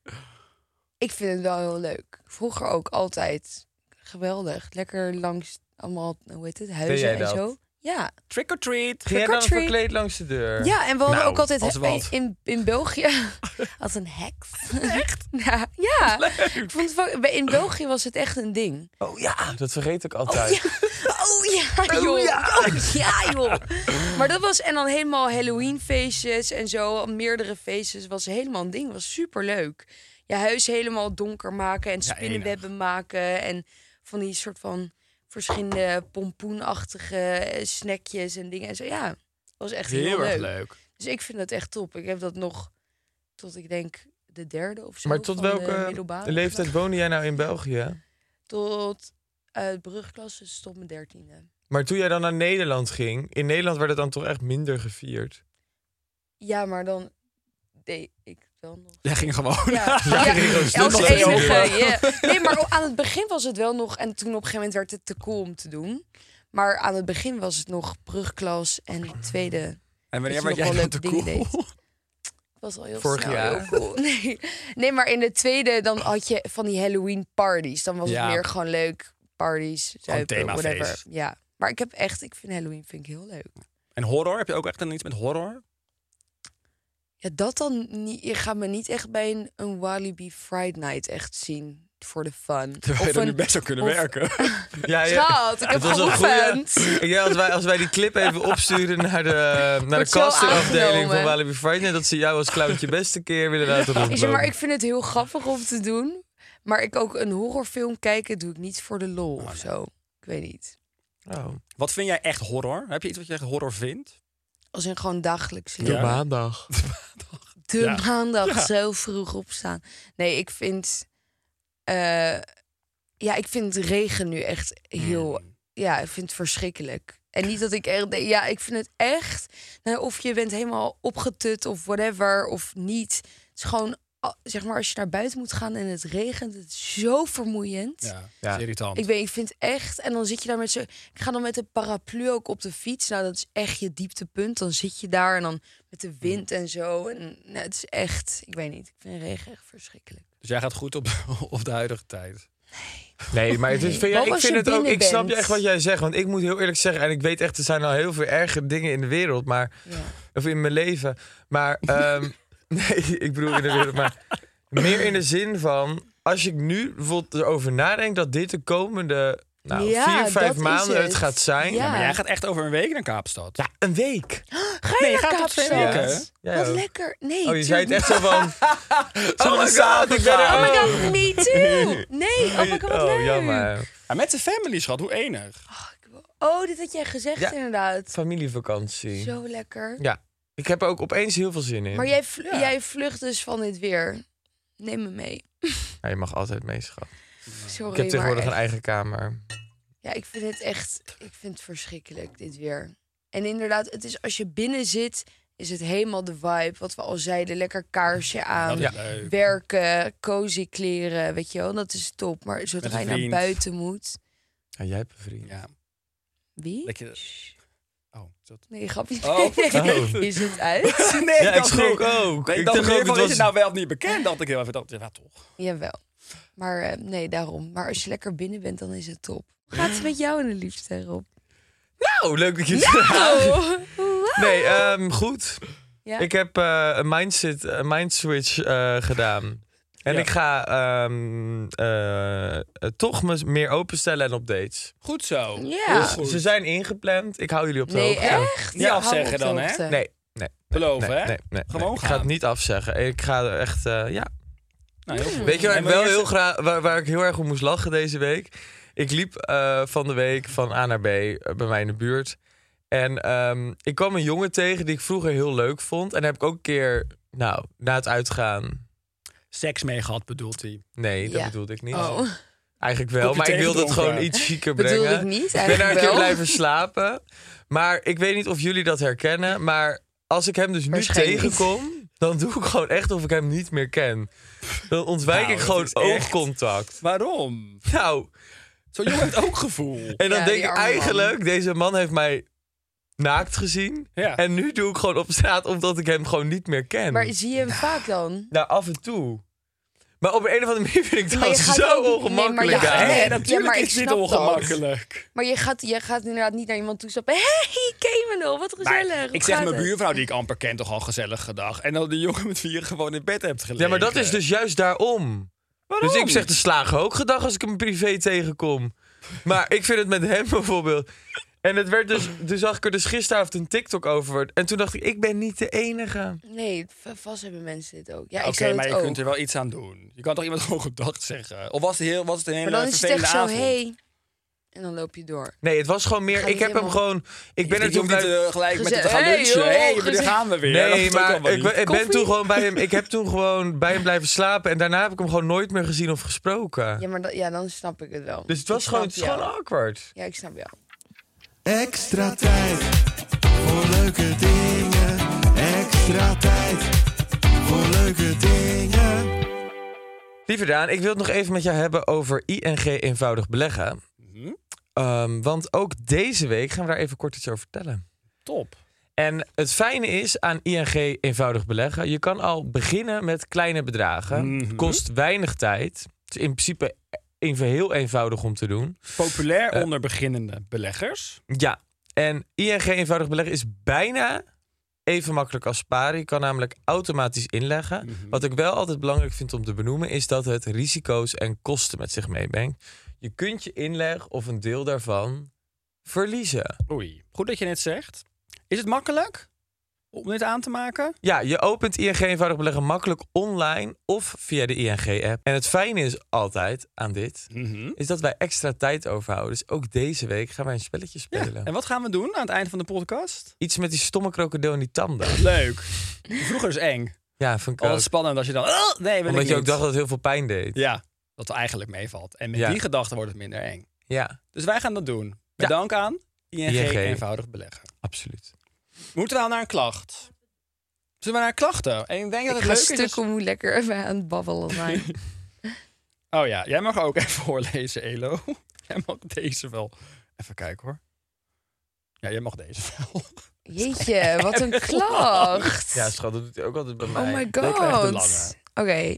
S4: Ik vind het wel heel leuk. Vroeger ook altijd. Geweldig. Lekker langs allemaal, hoe heet het,
S3: jij
S4: huizen en
S3: dat?
S4: zo. Ja.
S2: Trick or treat.
S3: Ging jij dan
S4: Trick or
S3: verkleed langs de deur?
S4: Ja, en we hadden
S2: Nou,
S4: ook altijd
S2: als wat.
S4: in, in België als een heks. Echt? Ja. ja. Ik vond het wel- bij- in België was het echt een ding.
S3: Oh ja, dat vergeet ik altijd.
S4: ah. Oh ja, joh. Oh ja, joh. Maar dat was en dan helemaal Halloween feestjes en zo, meerdere feestjes was helemaal een ding. Was super leuk. Je huis helemaal donker maken en spinnenwebben maken en van die soort van verschillende pompoenachtige eh, snackjes en dingen en zo. Ja, was echt heel,
S2: Heel erg
S4: leuk.
S2: leuk.
S4: Dus ik vind dat echt top. Ik heb dat nog tot ik denk de derde of zo.
S3: Maar tot
S4: van de
S3: welke
S4: middelbare
S3: leeftijd
S4: of
S3: woonde jij nou in België?
S4: zo. Tot eh brugklas, dus tot mijn dertiende.
S3: Maar toen jij dan naar Nederland ging, in Nederland werd het dan toch echt minder gevierd.
S4: Ja, maar dan deed ik wel nog.
S2: Jij ging gewoon.
S4: Ja, ja,
S3: regels,
S4: ja, als
S3: dat is wel
S4: enige.
S3: waar.
S4: ja. Nee, maar aan het begin was het wel nog. En toen op een gegeven moment werd het te cool om te doen. Maar aan het begin was het nog brugklas en tweede.
S2: En wanneer
S4: Dat
S2: werd
S4: je nog
S2: jij dan
S4: wel leuke
S2: te
S4: dingen
S2: cool?
S4: was al heel
S3: Vorig
S4: snel
S3: jaar.
S4: heel cool. Nee. nee, maar in de tweede dan had je van die Halloween parties. Dan was
S2: Ja.
S4: het meer gewoon leuk. Parties,
S2: Gewoon
S4: zuipen,
S2: themafeest.
S4: whatever. Ja. Maar ik heb echt, ik vind Halloween vind ik heel leuk.
S2: En horror? Heb je ook echt dan iets met horror?
S4: Ja, dat dan niet. Je gaat me niet echt bij een, een Walibi Friday Night echt zien voor de fun.
S2: Terwijl je er nu
S4: een
S2: best zou kunnen
S4: of-
S2: werken.
S3: Ja,
S4: Schat, ik heb
S3: was een goeie.
S4: geoefend.
S3: Ik denk als wij, als wij die clip even opsturen naar de, naar de
S4: Wordt zo
S3: kastenafdeling van
S4: aangenomen.
S3: Walibi Friday, dat ze jou als clowntje beste keer willen laten rondlopen.
S4: Is het- maar ik vind het heel grappig om te doen. Maar ik ook een horrorfilm kijken doe ik niet voor de
S2: Oh,
S4: lol of zo. Ik weet niet.
S3: Oh.
S2: Wat vind jij echt horror? Heb je iets wat je echt horror vindt?
S4: Als in gewoon dagelijks
S3: De
S4: leven.
S2: Ja.
S3: maandag.
S4: de
S2: Ja.
S4: maandag
S2: Ja.
S4: zo vroeg opstaan. Nee, ik vind. eh, ja, ik vind regen nu echt heel.
S2: Mm.
S4: Ja, ik vind het verschrikkelijk. En niet dat ik echt. denk, Ja, ik vind het echt. Nou, of je bent helemaal opgetut of whatever, of niet. Het is gewoon al- zeg maar, als je naar buiten moet gaan en het regent, het is zo vermoeiend.
S2: Ja, dat
S3: Ja.
S2: is irritant.
S4: Ik weet, ik vind echt. En dan zit je daar met zo. Ik ga dan met de paraplu ook op de fiets. Nou, dat is echt je dieptepunt. Dan zit je daar en dan met
S3: Mm.
S4: de wind en zo. En nou, het is echt. Ik weet niet. Ik vind regen echt verschrikkelijk.
S2: Dus jij gaat goed op, op de huidige tijd.
S3: Nee, maar het is,
S4: Nee.
S3: ja,
S4: Wat
S3: ik
S4: als
S3: vind
S4: je
S3: het ook.
S4: binnen
S3: Ik snap je
S4: bent?
S3: echt wat jij zegt. Want ik moet heel eerlijk zeggen. En ik weet echt, er zijn al heel veel erge dingen in de wereld. Maar.
S4: Ja.
S3: Of in mijn leven. Maar. ehm, nee, ik bedoel in de wereld. Maar. Meer in de zin van. Als ik nu bijvoorbeeld erover nadenk dat dit de komende. Nou,
S4: Ja,
S3: vier, vijf
S4: dat is
S3: maanden het.
S4: het.
S3: gaat zijn.
S4: Ja.
S2: Maar jij gaat echt over een week naar Kaapstad.
S3: Ja, een week.
S4: Ga je
S2: Nee,
S4: naar
S2: je gaat tot twee
S4: Kaapstad?
S3: weken, hè? Ja,
S4: Wat
S3: joh.
S4: lekker. Nee.
S3: Oh, je zei het
S4: tuurlijk
S3: echt zo van. Oh my god, ik ben er.
S4: Oh my
S3: ook.
S4: god, me too. Nee, oh my god, wat leuk.
S3: Oh, jammer.
S2: Ja, met de family, schat. Hoe enig.
S4: Oh, dit had jij gezegd
S3: Ja.
S4: inderdaad.
S3: Familievakantie.
S4: Zo lekker.
S3: Ja. Ik heb er ook opeens heel veel zin in.
S4: Maar jij, vl- jij vlucht dus van dit weer. Neem me mee.
S3: Ja, je mag altijd meeschap.
S4: Sorry,
S3: Ik heb tegenwoordig
S4: maar
S3: een eigen kamer.
S4: echt- Ja, ik vind het echt... Ik vind het verschrikkelijk, dit weer. En inderdaad, het is als je binnen zit, is het helemaal de vibe. Wat we al zeiden, lekker kaarsje aan.
S2: Dat is leuk.
S4: Werken, cozy kleren, weet je wel. Dat is top. Maar
S2: Met
S4: zodra
S2: een
S4: je naar
S2: vriend.
S4: buiten moet...
S3: Ja, jij hebt een vriend.
S2: Ja.
S4: Wie?
S2: Dat je- Oh, is dat...
S4: Nee, grapje.
S2: Oh.
S4: Nee, Is het uit?
S2: Nee,
S3: Ja, ik
S2: dacht
S3: schrok
S2: nee.
S3: ook.
S2: Nee, ik
S3: Ik
S2: dacht
S3: dacht
S2: meer
S3: ook,
S2: van,
S3: het
S2: is het
S3: was-
S2: nou wel of niet bekend? Dacht ik heel even, dacht, ja toch.
S4: Jawel. Maar eh, nee, daarom. Maar als je lekker binnen bent, dan is het top. Hoe Gaat het met jou en de liefste, Rob? Oh.
S3: Nou, leuk dat je het vraagt. Nee,
S2: eh,
S3: ehm, goed.
S4: Ja?
S3: Ik heb eh, een mindset, een mindswitch eh, gedaan. En
S2: Ja.
S3: ik ga ehm, eh, eh, toch me meer openstellen en op dates.
S2: Goed zo.
S4: Ja.
S2: Heel
S4: Dus
S2: goed.
S3: Ze zijn ingepland. Ik hou jullie op de
S4: Nee,
S3: hoogte.
S4: echt?
S2: Niet
S4: hou me
S2: afzeggen
S4: op de
S2: dan, hè?
S4: hoogte.
S3: Nee, nee.
S2: Beloven,
S3: nee,
S2: hè?
S3: Nee, nee,
S2: Gewoon
S3: nee. Ik ga
S2: gaan.
S3: het niet afzeggen. Ik ga er echt, eh, ja,
S2: Nou, heel goed.
S3: Weet je waar
S2: En
S3: ik
S2: wil je
S3: wel
S2: eerst-
S3: heel graag, waar, waar ik heel erg om moest lachen deze week? Ik liep eh, van de week van A naar B eh, bij mij in de buurt. En ehm, ik kwam een jongen tegen die ik vroeger heel leuk vond. En daar heb ik ook een keer, nou, na het uitgaan.
S2: Seks mee gehad, bedoelt hij.
S3: Nee, dat
S4: Ja.
S3: bedoelde ik niet.
S4: Oh,
S3: Eigenlijk wel,
S2: Kopje
S3: maar ik wilde het
S2: tegedronken.
S3: gewoon iets chiquer brengen.
S4: bedoelde ik niet.
S3: Ik ben daar een
S4: Eigenlijk
S3: keer
S4: wel.
S3: blijven slapen. Maar ik weet niet of jullie dat herkennen. Maar als ik hem dus nu
S4: Waarschijnlijk niet.
S3: tegenkom, dan doe ik gewoon echt of ik hem niet meer ken. Dan ontwijk
S2: Nou,
S3: ik
S2: dat
S3: gewoon
S2: is echt-
S3: oogcontact.
S2: Waarom?
S3: Nou,
S2: Zo'n jongen heeft ook gevoel.
S3: En dan
S4: Ja,
S3: denk
S4: die
S3: ik
S4: arme man.
S3: eigenlijk, deze man heeft mij naakt gezien.
S2: Ja.
S3: En nu doe ik gewoon op straat omdat ik hem gewoon niet meer ken.
S4: Maar zie je hem vaak dan?
S3: Nou, af en toe. Maar op een of andere manier vind ik
S4: Maar
S3: dat
S4: je gaat
S3: zo
S4: ook- nee, maar
S3: ongemakkelijk.
S4: je
S3: daar.
S4: gaat-
S2: Hè,
S4: Ja, maar
S2: natuurlijk
S4: ik
S2: is dit
S4: snap dat.
S2: ongemakkelijk.
S4: Maar je gaat, je gaat inderdaad niet naar iemand toe stappen. Hé, hey, Kemeno, wat
S2: Maar
S4: gezellig. Hoe
S2: ik zeg
S4: gaat
S2: mijn
S4: het?
S2: buurvrouw die ik amper ken toch al gezellig gedag. En dan die jongen met wie je gewoon in bed hebt gelegen.
S3: Ja, maar dat is dus juist daarom.
S2: Waarom?
S3: Dus ik zeg de slagen ook gedag als ik hem privé tegenkom. Maar ik vind het met hem bijvoorbeeld. En het werd dus, dus zag ik er dus gisteravond een TikTok over. En toen dacht ik, ik ben niet de enige.
S4: Nee, v- vast hebben mensen dit ook. Ja,
S2: Oké,
S4: ik zou
S2: maar
S4: het
S2: je
S4: ook.
S2: kunt er wel iets aan doen. Je kan toch iemand gewoon gedag zeggen? Of was het, heel, was het een hele
S4: maar dan is het
S2: vervelende
S4: echt zo,
S2: avond?
S4: hé. En dan loop je door.
S3: Nee, het was gewoon
S4: Ga
S3: meer. Ik
S4: niet
S3: heb hem
S4: helemaal-
S3: gewoon. Ik ben er
S2: Dus je
S3: toen
S2: hoeft niet
S3: blij-
S2: eh, gelijk met
S4: Gezegd,
S2: hem te gaan
S4: hey,
S2: lunchen.
S4: joh,
S2: hey, daar
S4: gezegd.
S2: gaan we weer. Dat
S3: Nee,
S2: is ook allemaal
S3: maar ik,
S2: niet.
S3: ik ben
S4: Koffie?
S3: toen gewoon bij hem. Ik heb toen gewoon bij hem blijven slapen. En daarna heb ik hem gewoon nooit meer gezien of gesproken.
S4: Ja, maar dat, ja, dan snap ik het wel.
S3: Dus het
S4: Ik
S3: was gewoon,
S4: snap
S3: het is gewoon
S4: jou.
S3: awkward.
S4: Ja, ik snap jou.
S5: Extra tijd voor leuke dingen. Extra tijd voor leuke dingen.
S3: Lieve Daan, ik wil het nog even met jou hebben over ING eenvoudig beleggen.
S2: Mhm.
S3: Ehm, want ook deze week gaan we daar even kort iets over vertellen.
S2: Top.
S3: En het fijne is aan ING eenvoudig beleggen: je kan al beginnen met kleine bedragen.
S2: Mhm.
S3: Kost weinig tijd. Het is in principe even heel eenvoudig om te doen.
S2: Populair
S3: Eh.
S2: onder beginnende beleggers.
S3: Ja, en ING eenvoudig beleggen is bijna even makkelijk als sparen. Je kan namelijk automatisch inleggen.
S2: Mhm.
S3: Wat ik wel altijd belangrijk vind om te benoemen, is dat het risico's en kosten met zich meebrengt. Je kunt je inleg of een deel daarvan verliezen.
S2: Oei. Goed dat je net zegt. Is het makkelijk om dit aan te maken?
S3: Ja, je opent ING eenvoudig beleggen makkelijk online of via de ING-app. En het fijne is altijd aan dit,
S2: Mhm.
S3: is dat wij extra tijd overhouden. Dus ook deze week gaan wij een spelletje
S2: Ja.
S3: spelen.
S2: En wat gaan we doen aan het einde van de podcast?
S3: Iets met die stomme krokodil en die tanden.
S2: Leuk. Vroeger is eng.
S3: Ja, van ik ook.
S2: Altijd spannend als je dan... "Oh, nee, wil
S3: Omdat
S2: ik
S3: je ook
S2: niet."
S3: dacht dat het heel veel pijn deed.
S2: Ja, dat er eigenlijk meevalt. En met
S3: Ja.
S2: die gedachte wordt het minder eng.
S3: Ja,
S2: Dus wij gaan dat doen. Met
S3: Ja.
S2: dank aan ING,
S3: ING.
S2: Eenvoudig Beleggen.
S3: absoluut.
S2: Moeten we al naar een klacht? Stuur maar naar klachten. En ik denk dat
S4: Ik
S2: het
S4: ga
S2: leuk is
S4: stuk
S2: als-
S4: om hoe lekker even aan het babbelen zijn.
S2: Oh ja, jij mag ook even voorlezen, Elo. Jij mag deze wel. Even kijken hoor. Ja, jij mag deze wel.
S4: Jeetje, wat een klacht.
S3: Ja, schat, dat doet hij ook altijd bij mij.
S4: Oh my
S2: Jij krijgt de
S4: god.
S2: lange.
S4: Oké.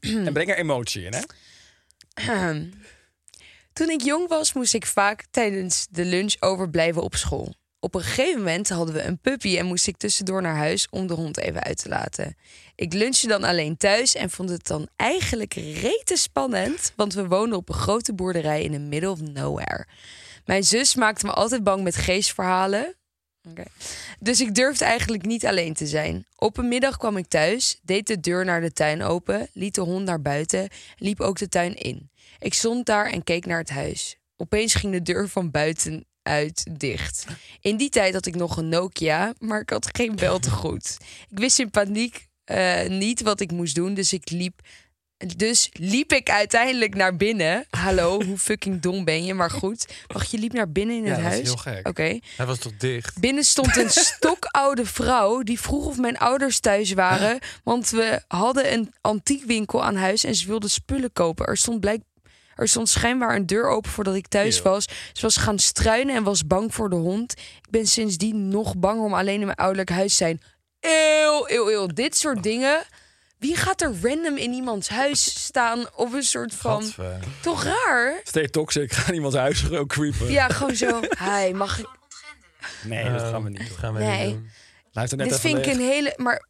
S4: Hmm.
S2: En breng er emotie in, hè?
S4: Toen ik jong was, moest ik vaak tijdens de lunch overblijven op school. Op een gegeven moment hadden we een puppy en moest ik tussendoor naar huis om de hond even uit te laten. Ik lunchte dan alleen thuis en vond het dan eigenlijk rete spannend, want we woonden op een grote boerderij in the middle of nowhere. Mijn zus maakte me altijd bang met geestverhalen. Oké. Dus ik durfde eigenlijk niet alleen te zijn. Op een middag kwam ik thuis, deed de deur naar de tuin open, liet de hond naar buiten en liep ook de tuin in. Ik stond daar en keek naar het huis. Opeens ging de deur van buiten uit dicht. In die tijd had ik nog een Nokia, maar ik had geen bel te goed. Ik wist in paniek eh, niet wat ik moest doen, dus ik liep. Dus liep ik uiteindelijk naar binnen. Hallo, hoe fucking dom ben je? Maar goed. Wacht, je liep naar binnen in
S2: Ja,
S4: het
S2: dat is
S4: huis?
S2: heel gek.
S4: Oké.
S3: Hij was toch dicht?
S4: Binnen stond een stokoude vrouw die vroeg of mijn ouders thuis waren. Want we hadden een antiekwinkel aan huis en ze wilde spullen kopen. Er stond, blijk, er stond schijnbaar een deur open voordat ik thuis
S2: Eeuw.
S4: was. Ze was gaan struinen en was bang voor de hond. Ik ben sindsdien nog bang om alleen in mijn ouderlijk huis te zijn. Eeuw, eeuw, eeuw. Dit soort dingen. Wie gaat er random in iemands huis staan of een soort van...
S3: Gadver.
S4: Toch raar?
S2: Stay toxic, ga in iemands huis gewoon creepen.
S4: Ja, gewoon zo. Hi, mag ik...
S2: Nee, dat gaan we niet
S3: Dat
S2: doen.
S3: gaan we
S4: Nee.
S3: niet doen.
S2: Luister net
S4: Dit
S2: even
S4: vind ik
S2: leeg.
S4: een hele. Maar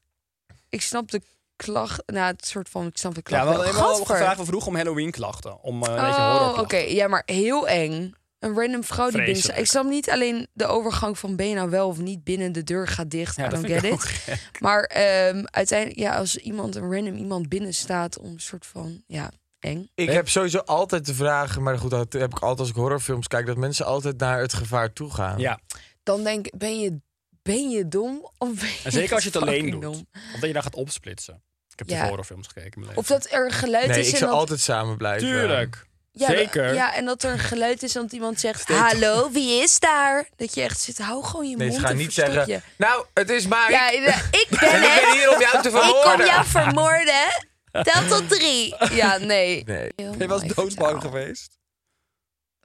S4: ik snap de klacht. Nou, het soort van. Ik snap de klacht.
S2: Ja, we
S4: wel.
S2: hadden helemaal
S4: Gadver.
S2: gevraagd we vroegen om Halloween klachten. Om eh, een beetje horror
S4: Oh, oké. Ja, maar heel eng. Een random vrouw die binnen staat.
S2: Vreselijk.
S4: Ik snap niet alleen de overgang van ben je nou wel of niet binnen de deur gaat dicht.
S2: Ja,
S4: I
S2: dat
S4: don't
S2: vind
S4: get
S2: ik
S4: it.
S2: ook gek.
S4: Maar ehm, uiteindelijk, ja, als iemand een random iemand binnen staat om een soort van ja, eng.
S3: Ik heb sowieso altijd de vraag, maar goed, dat heb ik altijd als ik horrorfilms kijk, dat mensen altijd naar het gevaar toe gaan.
S2: Ja,
S4: Dan denk ik, ben je, ben je dom? Of ben je
S2: en zeker als je het alleen doet.
S4: fucking dom?
S2: Of dat je daar gaat opsplitsen. Ik heb
S4: Ja.
S2: de horrorfilms gekeken in mijn
S4: Of
S2: leven.
S4: dat er een geluid
S3: nee,
S4: is
S3: ik
S4: en
S3: zou
S4: dat
S3: altijd samen blijven.
S2: Tuurlijk.
S4: Ja,
S2: Zeker.
S4: dat- ja, en dat er een geluid is en dat iemand zegt:
S2: Steekt.
S4: Hallo, wie is daar? Dat je echt zit, hou gewoon je
S3: Nee,
S4: mond.
S3: ze gaan
S4: en
S3: niet
S4: verstop
S3: zeggen,
S4: Je.
S3: nou, het is Mike.
S4: Ja, inderdaad, ik ben
S3: en ik ben
S4: het.
S3: hier om jou te
S4: Ik
S3: vermoorden.
S4: kom jou vermoorden. Tel tot drie. Ja, nee. Oh
S3: Nee.
S4: Heel
S2: Je was
S4: mooi
S2: doodbang
S4: verhaal.
S2: geweest.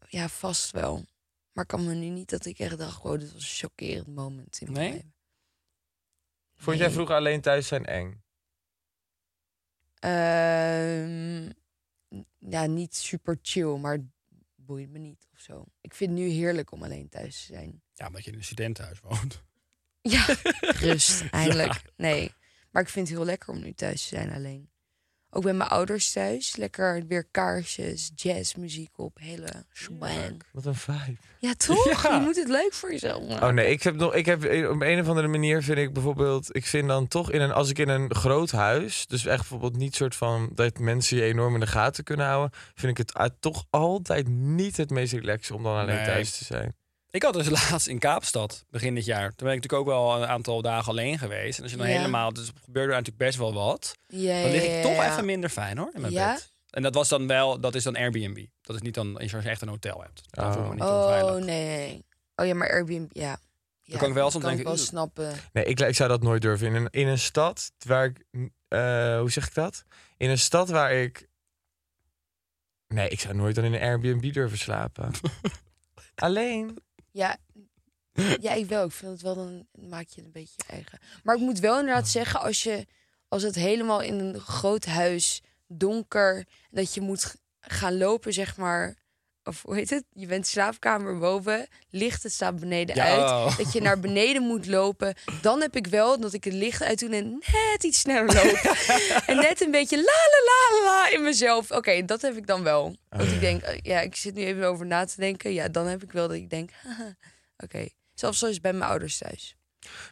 S4: Ja, vast wel. Maar ik kan me nu niet dat ik echt dacht: wow, dit was een chockerend moment. In mijn
S2: Nee?
S4: leven.
S3: Vond jij
S4: Nee.
S3: vroeger alleen thuis zijn eng?
S4: Ehm, ja, niet super chill, maar boeit me niet of zo. Ik vind het nu heerlijk om alleen thuis te zijn.
S2: Ja, omdat je in een studentenhuis woont.
S4: Ja, rust eindelijk. Nee, maar ik vind het heel lekker om nu thuis te zijn alleen. Ook bij mijn ouders thuis. Lekker weer kaarsjes, jazzmuziek op, hele shebang.
S3: Wat een vibe.
S4: Ja, toch?
S2: Ja.
S4: Je moet het leuk voor jezelf maken.
S3: Oh nee, ik heb nog, ik heb eh, op een of andere manier vind ik bijvoorbeeld, ik vind dan toch in een, als ik in een groot huis, dus echt bijvoorbeeld niet soort van dat mensen je enorm in de gaten kunnen houden, vind ik het ah, toch altijd niet het meest relaxed om dan alleen
S2: Nee.
S3: thuis te zijn.
S2: Ik had dus laatst in Kaapstad, begin dit jaar. Toen ben ik natuurlijk ook wel een aantal dagen alleen geweest. En als je dan
S4: Ja.
S2: helemaal, dus gebeurde er natuurlijk best wel wat.
S4: Ja,
S2: Dan lig
S4: ja,
S2: ik toch
S4: ja.
S2: even minder fijn hoor, in mijn
S4: Ja?
S2: bed. En dat was dan wel, dat is dan Airbnb. Dat is niet dan, als je echt een hotel hebt. Dan
S3: Oh.
S2: voel ik me niet
S4: Oh,
S2: onveilig.
S4: nee, nee. Oh ja, maar Airbnb, ja. ja
S2: kan ik wel
S4: dat
S2: soms
S4: kan
S2: denken,
S4: ik wel
S2: "Oeh."
S4: snappen.
S3: Nee, ik, ik zou dat nooit durven. In een, in een stad waar ik. eh, hoe zeg ik dat? In een stad waar ik. Nee, ik zou nooit dan in een Airbnb durven slapen. Alleen.
S4: Ja, ja, ik wel. Ik vind het wel, dan maak je het een beetje je eigen. Maar ik moet wel inderdaad zeggen, als, je, als het helemaal in een groot huis, donker, dat je moet g- gaan lopen, zeg maar. Of hoe heet het? Je bent slaapkamer boven, licht het staat beneden
S2: Ja,
S4: uit.
S2: oh.
S4: Dat je naar beneden moet lopen. Dan heb ik wel dat ik het licht uit doe en net iets sneller loop. en net een beetje la la la la la in mezelf. Oké, dat heb ik dan wel. Dat
S2: Ah.
S4: ik denk, eh, ja, ik zit nu even over na te denken. Ja, dan heb ik wel dat ik denk, Oké. Zelfs zoals bij mijn ouders thuis.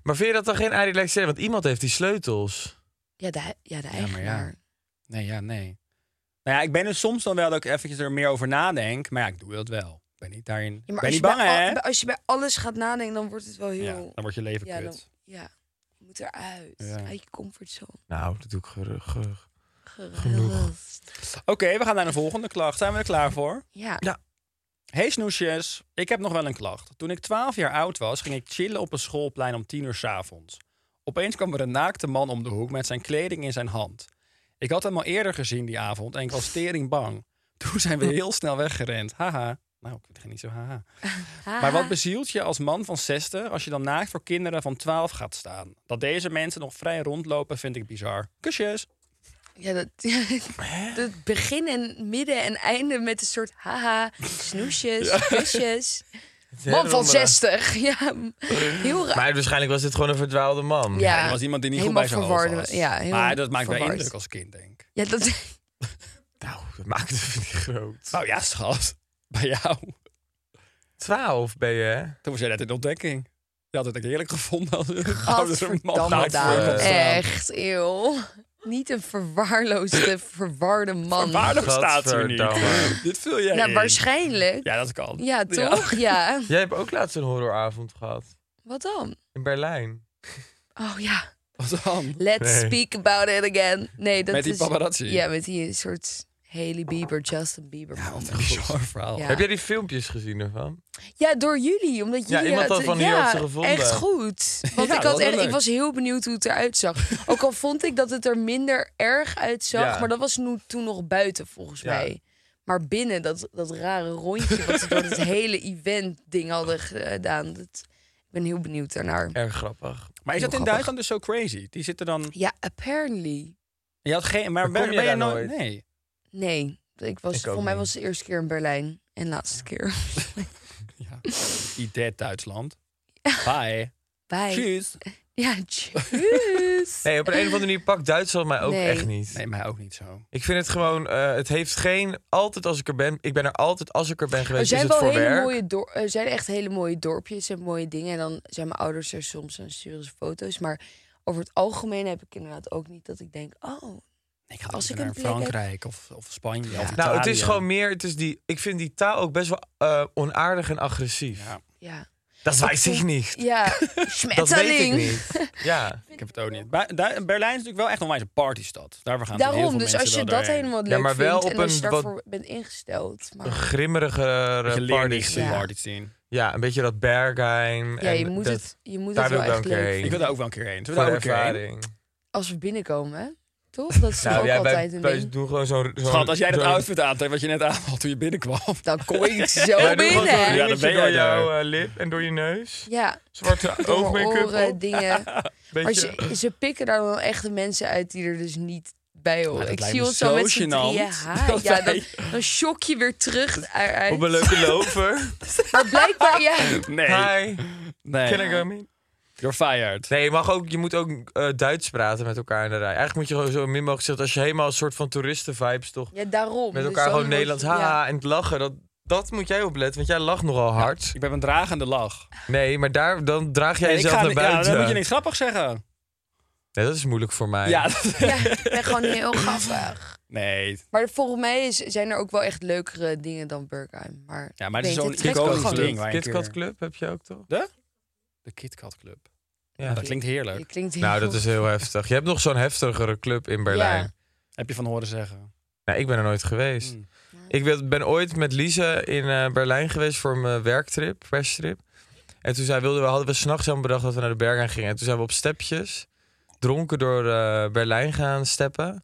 S3: Maar vind je dat dan geen relaxed? Want iemand heeft die sleutels.
S4: Ja, de, ja, de
S2: maar ja.
S4: eigenaar.
S2: Nee, ja, nee. Nou ja, ik ben er soms dan wel dat ik eventjes er meer over nadenk. Maar ja, ik doe dat wel. Ik ben niet daarin.
S4: Ja,
S2: ik
S4: maar
S2: ben
S4: als,
S2: niet
S4: je
S2: bang,
S4: bij,
S2: hè?
S4: al- bij- als je bij alles gaat nadenken, dan wordt het wel
S2: Ja,
S4: heel...
S2: dan wordt je leven
S4: Ja,
S2: kut.
S4: ja. je moet eruit.
S2: Ja.
S4: Uit je comfortzone.
S3: Nou, dat doe ik gerug. gerug.
S4: Gerust.
S2: Oké, we gaan naar de volgende klacht. Zijn we er klaar voor?
S4: Ja.
S3: Ja.
S2: Hey snoesjes, ik heb nog wel een klacht. Toen ik 12 jaar oud was, ging ik chillen op een schoolplein om 10 uur 's avonds. Opeens kwam er een naakte man om de hoek met zijn kleding in zijn hand. Ik had hem al eerder gezien die avond en ik was tering bang. Toen zijn we heel snel weggerend. Haha. Nou, ik vind het niet zo haha. Maar wat bezielt je als man van 60 als je dan naakt voor kinderen van 12 gaat staan? Dat deze mensen nog vrij rondlopen vind ik bizar. Kusjes.
S4: Ja, dat, het begin en midden en einde met een soort haha, snoesjes, kusjes. Man van 60. Ja, heel raar.
S3: Maar waarschijnlijk was dit gewoon een verdwaalde man.
S4: Ja.
S2: Er was iemand die niet
S4: helemaal
S2: goed bij zijn hoofd
S4: verwarde-
S2: was.
S4: ja, heel
S2: maar dat maakt mij
S4: verward.
S2: indruk als kind, denk ik.
S4: Ja, dat,
S3: Nou, dat maakt het niet groot.
S2: Nou ja, schat. Bij jou.
S3: 12 ben je, hè?
S2: Toen was jij net in de ontdekking. Je had het ook heerlijk gevonden als een oudere man
S4: Gadverdamme,
S2: naakt voor je
S4: Daan.
S2: gaat staan.
S4: Echt, eeuw. Niet een verwaarloosde, verwarde man.
S2: Verwaarloosd staat er niet.
S3: Gadverdamme.
S2: Dit vul jij
S4: Nou,
S2: in.
S4: waarschijnlijk. Ja,
S2: Ja, dat kan.
S4: toch? Ja.
S3: Jij hebt ook laatst een horroravond gehad.
S4: Wat dan?
S3: In Berlijn.
S4: Oh ja,
S2: Wat dan?
S4: let's
S3: Nee.
S4: speak about it again. Nee, dat
S2: Met die
S4: is,
S2: paparazzi?
S4: Ja, met die soort Haley Bieber, Justin Bieber. man.
S2: Wat een bizar verhaal.
S4: Ja.
S3: Heb jij die filmpjes gezien ervan?
S4: Ja, door jullie. Omdat jullie
S3: iemand
S4: het-
S3: had van
S4: ja,
S3: hier had ze gevonden.
S4: Echt goed. Want
S2: Ja,
S4: ik,
S2: dat
S4: had
S2: was
S4: echt,
S2: leuk.
S4: ik was heel benieuwd hoe het eruit zag. Ook al vond ik dat het er minder erg uitzag.
S3: Ja.
S4: Maar dat was nu, toen nog buiten, volgens
S3: Ja.
S4: mij. Maar binnen, dat, dat rare rondje wat ze door het hele event ding hadden gedaan. Dat, ik ben heel benieuwd daarnaar.
S3: Erg grappig.
S2: Maar is
S4: Heel
S2: dat in
S4: grappig.
S2: Duitsland dus zo crazy? Die zitten dan...
S4: Ja, apparently.
S2: Je had geen... Maar
S3: Maar
S2: ben,
S3: kom je
S2: ben je
S3: daar
S2: nooit...
S3: nooit?
S2: Nee.
S4: Nee, ik was,
S3: Ik ook
S4: voor mij
S3: niet.
S4: was het de eerste keer in Berlijn. En laatste keer.
S2: Ja. Idet Duitsland. Bye.
S4: Bye.
S2: Tjus.
S4: Ja, tjus.
S3: Nee, op een of andere manier pakt Duitsland mij ook
S4: Eh. Nee.
S3: echt niet.
S2: Nee, mij ook niet zo.
S3: Ik vind het gewoon, eh, het heeft geen, altijd als ik er ben, ik ben er altijd als ik er ben
S4: Er
S3: geweest, is
S4: zijn
S3: het
S4: wel
S3: voor
S4: hele
S3: werk.
S4: mooie dor- er zijn echt hele mooie dorpjes en mooie dingen. En dan zijn mijn ouders er soms en sturen ze foto's. Maar over het algemeen heb ik inderdaad ook niet dat ik denk: oh,
S2: Ik ga
S4: Als
S2: liever
S4: ik
S2: naar
S4: een plek heb-
S2: Frankrijk of, of Spanje of Italië.
S3: Nou, het is gewoon meer, het is die, ik vind die taal ook best wel eh, onaardig en agressief.
S2: Ja,
S4: ja.
S3: Dat weet ik niet.
S4: Ja,
S3: Dat weet ik
S4: schmetterling.
S3: niet. Ja.
S2: ik heb het ook niet. Bij- Du- Berlijn is natuurlijk wel echt onwijs een partystad. Daar gaan heel
S4: Daarom,
S2: veel
S4: dus
S2: mensen
S4: als je
S2: wel
S4: dat
S2: daarheen.
S4: helemaal leuk
S3: maar wel
S4: vindt
S3: op
S4: en als je
S3: een
S4: daarvoor bent ingesteld.
S3: Een
S4: Maar
S2: Je
S3: grimmerige
S2: leert
S3: party.
S2: niks van
S4: Ja.
S2: parties zien.
S3: Ja, een beetje dat Bergheim.
S4: ja,
S3: en
S4: je moet
S3: dat-
S4: het, je moet
S3: daar
S4: het
S3: wil
S4: wel
S3: ik wel
S4: echt
S3: een keer
S4: leuk
S3: heen.
S2: Ik wil daar ook wel een keer heen. Zullen
S3: Voor
S2: we
S3: de
S2: daar ook een keer heen?
S3: ervaring.
S4: als we binnenkomen, hè? Toch? Dat is toch
S3: Nou
S4: ook
S3: ja, wij,
S4: altijd een
S3: wij
S4: ding.
S3: doen gewoon zo'n... zo'n-
S2: Schat, als jij dat
S3: zo'n-
S2: outfit aantrekt wat je net aan had toen je binnenkwam.
S4: Dan kom ik zo
S3: Wij doen gewoon zo'n
S4: binnen.
S2: Ja, dan
S3: ringetje
S2: ben jij
S3: door
S2: daar.
S3: jouw eh, lip en door je neus.
S4: Ja,
S3: Zwarte
S4: door mijn
S3: oogmake-up
S4: oren,
S3: op.
S4: dingen. Maar
S3: Beetje...
S4: ze, ze pikken daar dan echt de mensen uit die er dus niet bij horen.
S2: dat
S4: ik
S2: lijkt
S4: zie
S2: me
S4: ons zo
S2: zo
S4: met z'n
S2: gênant.
S4: drieën. hi.
S2: Dat
S4: Ja, dan,
S2: wij-
S4: dan shock je weer terug eruit.
S3: Op een leuke lover.
S4: Maar blijkbaar, ja.
S2: Nee.
S3: Hi,
S2: nee.
S3: can I go in?
S2: You're fired.
S3: Nee, je, mag ook, je moet ook eh, Duits praten met elkaar in de rij. Eigenlijk moet je gewoon zo min mogelijk zitten. Als je helemaal een soort van toeristen-vibes toch...
S4: ja,
S3: met
S4: daarom. Dus
S3: elkaar
S4: dan
S3: gewoon
S4: moet-
S3: Nederlands
S4: ja.
S3: haha en het lachen. Dat, dat moet jij opletten, want jij lacht nogal hard.
S2: Ik ben een dragende lach.
S3: Nee, maar daar, dan draag jij
S2: Nee, ik
S3: jezelf
S2: ga
S3: naar
S2: niet- ja,
S3: buiten.
S2: dan moet je niks grappig zeggen.
S3: Nee, dat is moeilijk voor mij.
S2: Ja, dat-
S4: Ja, ik ben gewoon heel grappig.
S2: nee.
S4: Maar volgens mij is, zijn er ook wel echt leukere dingen dan Bergheim. Maar,
S2: Ja, maar het
S4: ik
S2: is
S4: weet
S2: zo'n
S4: het trekt
S2: iconisch
S4: gewoon.
S2: ding. waar je een
S3: KitKat
S2: keer-
S3: Club heb je ook toch?
S2: De KitKat Club.
S3: Ja.
S2: Dat klinkt
S4: Je
S2: heerlijk.
S4: klinkt heel
S3: Nou, dat is heel heftig. Je hebt nog zo'n heftigere club in Berlijn.
S4: Ja.
S2: Heb je van horen zeggen.
S3: Nou, ik ben er nooit geweest.
S2: Mm.
S3: Ik ben- ben ooit met Lise in eh, Berlijn geweest voor mijn werktrip, perstrip. En toen zei, wilden we, hadden we s'nachts helemaal bedacht dat we naar de Bergen gingen. En toen zijn we op stepjes, dronken door eh, Berlijn gaan steppen.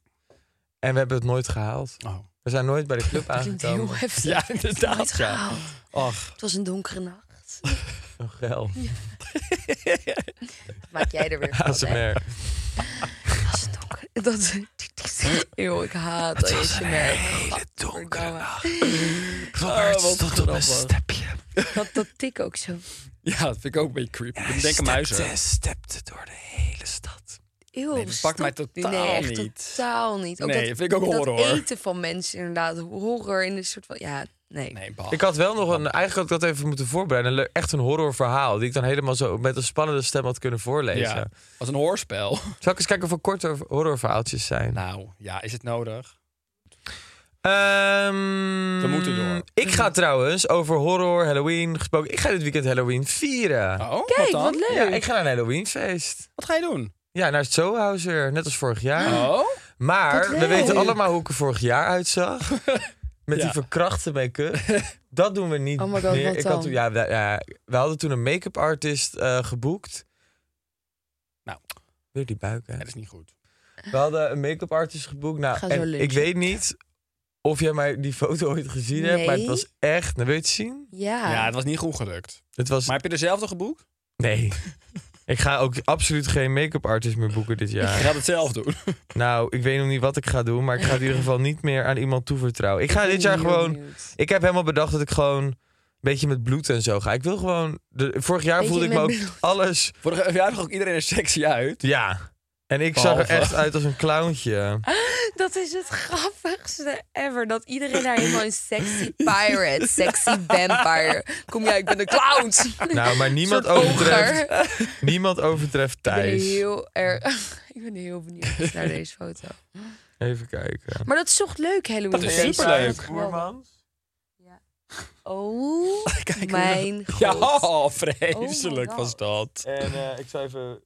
S3: En we hebben het nooit gehaald.
S2: Oh.
S3: We zijn nooit bij de club
S4: Het klinkt heel
S3: aangekomen.
S4: heftig.
S2: Ja, inderdaad.
S4: Nooit
S2: Ja.
S4: gehaald.
S2: Och,
S4: Het was een donkere nacht.
S3: Oh, geil.
S4: Maak jij er weer van, hè?
S3: ASMR.
S4: Dat is donker. Dat, eeuw, ik haat dat je merkt.
S2: Oh, wat grappig.
S4: Dat, dat tik ook zo.
S2: Ja, dat vind ik ook een beetje creepy. Ik denk aan muizen.
S3: stepte door de hele stad.
S4: Eeuw,
S2: Nee, dat pakt mij
S4: stop.
S2: totaal
S4: nee, echt
S2: niet.
S4: totaal niet. Ook
S2: Nee,
S4: dat,
S2: dat vind ik ook horror.
S4: Dat eten van mensen inderdaad. Horror in een soort van... Ja, nee.
S2: Nee, bah.
S3: Ik had wel nog een, eigenlijk had ik dat even moeten voorbereiden. Een le- Echt een horrorverhaal. Die ik dan helemaal zo met een spannende stem had kunnen voorlezen.
S2: Ja, als een hoorspel.
S3: Zal ik eens kijken of er korte horrorverhaaltjes zijn?
S2: Nou, ja, is het nodig?
S3: Ehm,
S2: We moeten door.
S3: Ik ga trouwens over horror, Halloween gesproken. Ik ga dit weekend Halloween vieren.
S2: Oh,
S4: Kijk,
S2: wat dan?
S4: wat leuk.
S3: Ja, ik ga naar een Halloweenfeest.
S2: Wat ga je doen?
S3: Ja, naar het Zoohaus weer, net als vorig jaar.
S4: Ah.
S2: Oh?
S3: Maar
S4: Wat
S3: we
S4: leuk.
S3: weten allemaal hoe ik er vorig jaar uitzag. Met
S2: Ja.
S3: die verkrachte make-up. Dat doen we niet
S4: Oh my god,
S3: meer.
S4: wat
S3: ik had
S4: dan?
S3: toen, ja, we, ja, we hadden toen een make-up artist eh, geboekt.
S2: Nou.
S3: Weer die buiken.
S2: dat is niet goed.
S3: We hadden een make-up artist geboekt. Nou,
S4: dus- Ga zo
S3: en ik
S4: lunchen.
S3: weet niet of jij mij die foto ooit gezien hebt, maar het
S4: Nee.
S3: was echt. Nou, wil je het zien?
S4: Ja.
S2: Ja, het was niet goed gelukt.
S3: Het was.
S2: Maar heb je dezelfde geboekt?
S3: Nee. ik ga ook absoluut geen make-up artist meer boeken dit
S2: Ik
S3: jaar.
S2: ga het zelf doen.
S3: Nou, ik weet nog niet wat ik ga doen, maar ik ga het in ieder geval niet meer aan iemand toevertrouwen. Ik ga
S4: ben
S3: dit jaar
S4: heel
S3: gewoon.
S4: benieuwd.
S3: Ik heb helemaal bedacht dat ik gewoon een beetje met bloed en zo ga. Ik wil gewoon. De, vorig jaar
S4: Beetje
S3: voelde ik me
S4: met
S3: ook
S4: bloed.
S3: alles.
S2: Vorig jaar zag ook iedereen er sexy uit.
S3: Ja. En ik zag
S2: Behalve.
S3: er echt uit als een clowntje.
S4: Dat is het grappigste ever. Dat iedereen daar helemaal een sexy pirate, sexy vampire. Kom jij, ik ben een clown.
S3: Nou, maar niemand
S4: Soort
S3: overtreft,
S4: oger.
S3: niemand overtreft
S4: Ik ben
S3: Thijs.
S4: heel erg. Ik ben heel benieuwd naar deze foto.
S3: Even kijken.
S4: Maar dat is toch leuk, Halloween.
S2: Dat is
S4: feest.
S2: superleuk.
S4: Oh,
S2: Kijk hoe-
S4: mijn god.
S2: Ja, oh, vreselijk
S4: Oh my
S2: was dat.
S3: En eh, ik zou even...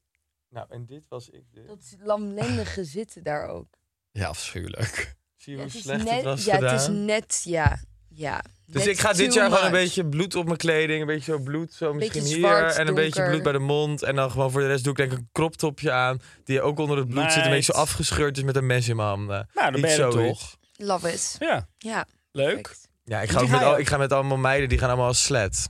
S3: Nou, en dit was ik. dus.
S4: Dat lamlendige zitten daar ook.
S2: Ja, afschuwelijk.
S3: Zie
S4: Ja,
S3: je
S4: het
S3: hoe
S4: is
S3: slecht
S4: net,
S3: het was
S4: ja, het is
S3: gedaan?
S4: net, ja. ja
S3: Dus
S4: net
S3: ik ga dit
S4: too
S3: jaar gewoon een
S4: much.
S3: beetje bloed op mijn kleding. Een beetje zo bloed, zo misschien hier.
S4: zwart,
S3: en een beetje
S4: donker.
S3: bloed bij de mond. En dan gewoon voor de rest doe ik denk ik een kroptopje aan. Die ook onder het bloed zit. Een beetje
S2: Meid.
S3: zo afgescheurd is met een mes in mijn handen.
S2: Nou, dan
S3: Iets
S2: ben je er
S3: zoiets.
S2: toch.
S4: Love it.
S2: Ja,
S4: Ja,
S2: leuk.
S4: perfect.
S3: Ja, ik
S2: Die
S3: ga, ook
S2: ga
S3: met,
S2: je
S3: al,
S2: ook.
S3: ik ga met allemaal meiden. Die gaan allemaal als slet.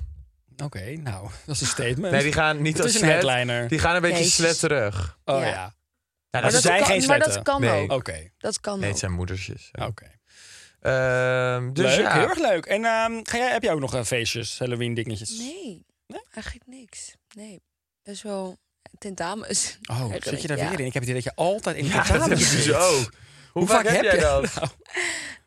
S2: Oké, nou, dat is een statement.
S3: Nee, die gaan niet
S2: het
S3: als
S2: is een
S3: slet.
S2: headliner.
S3: Die gaan een beetje
S4: Jezus.
S3: slet terug.
S2: Oh
S4: Ja.
S2: ja.
S3: Ja,
S2: Maar
S3: dat
S2: dat
S3: is-
S2: zijn
S4: kan,
S2: geen
S4: Maar
S2: sletten.
S4: dat kan
S3: Nee.
S4: ook.
S2: Oké,
S4: Dat kan
S3: Nee,
S4: ook.
S3: het zijn moedersjes.
S2: oké.
S3: Ehm, dus
S2: leuk,
S3: ja.
S2: heel erg leuk. En ehm, ga jij, heb jij ook nog eh, feestjes, Halloween dingetjes?
S4: Nee,
S2: Nee?
S4: eigenlijk niks. Nee, best wel tentamens.
S2: Oh,
S4: Eigenlijk,
S2: zit je daar
S4: ja.
S2: weer in? Ik heb het idee dat je altijd in
S3: Ja,
S2: tentamen
S3: dat heb ik
S2: zit.
S3: dus ook. Hoe, vaak, heb jij dat?
S2: Nou,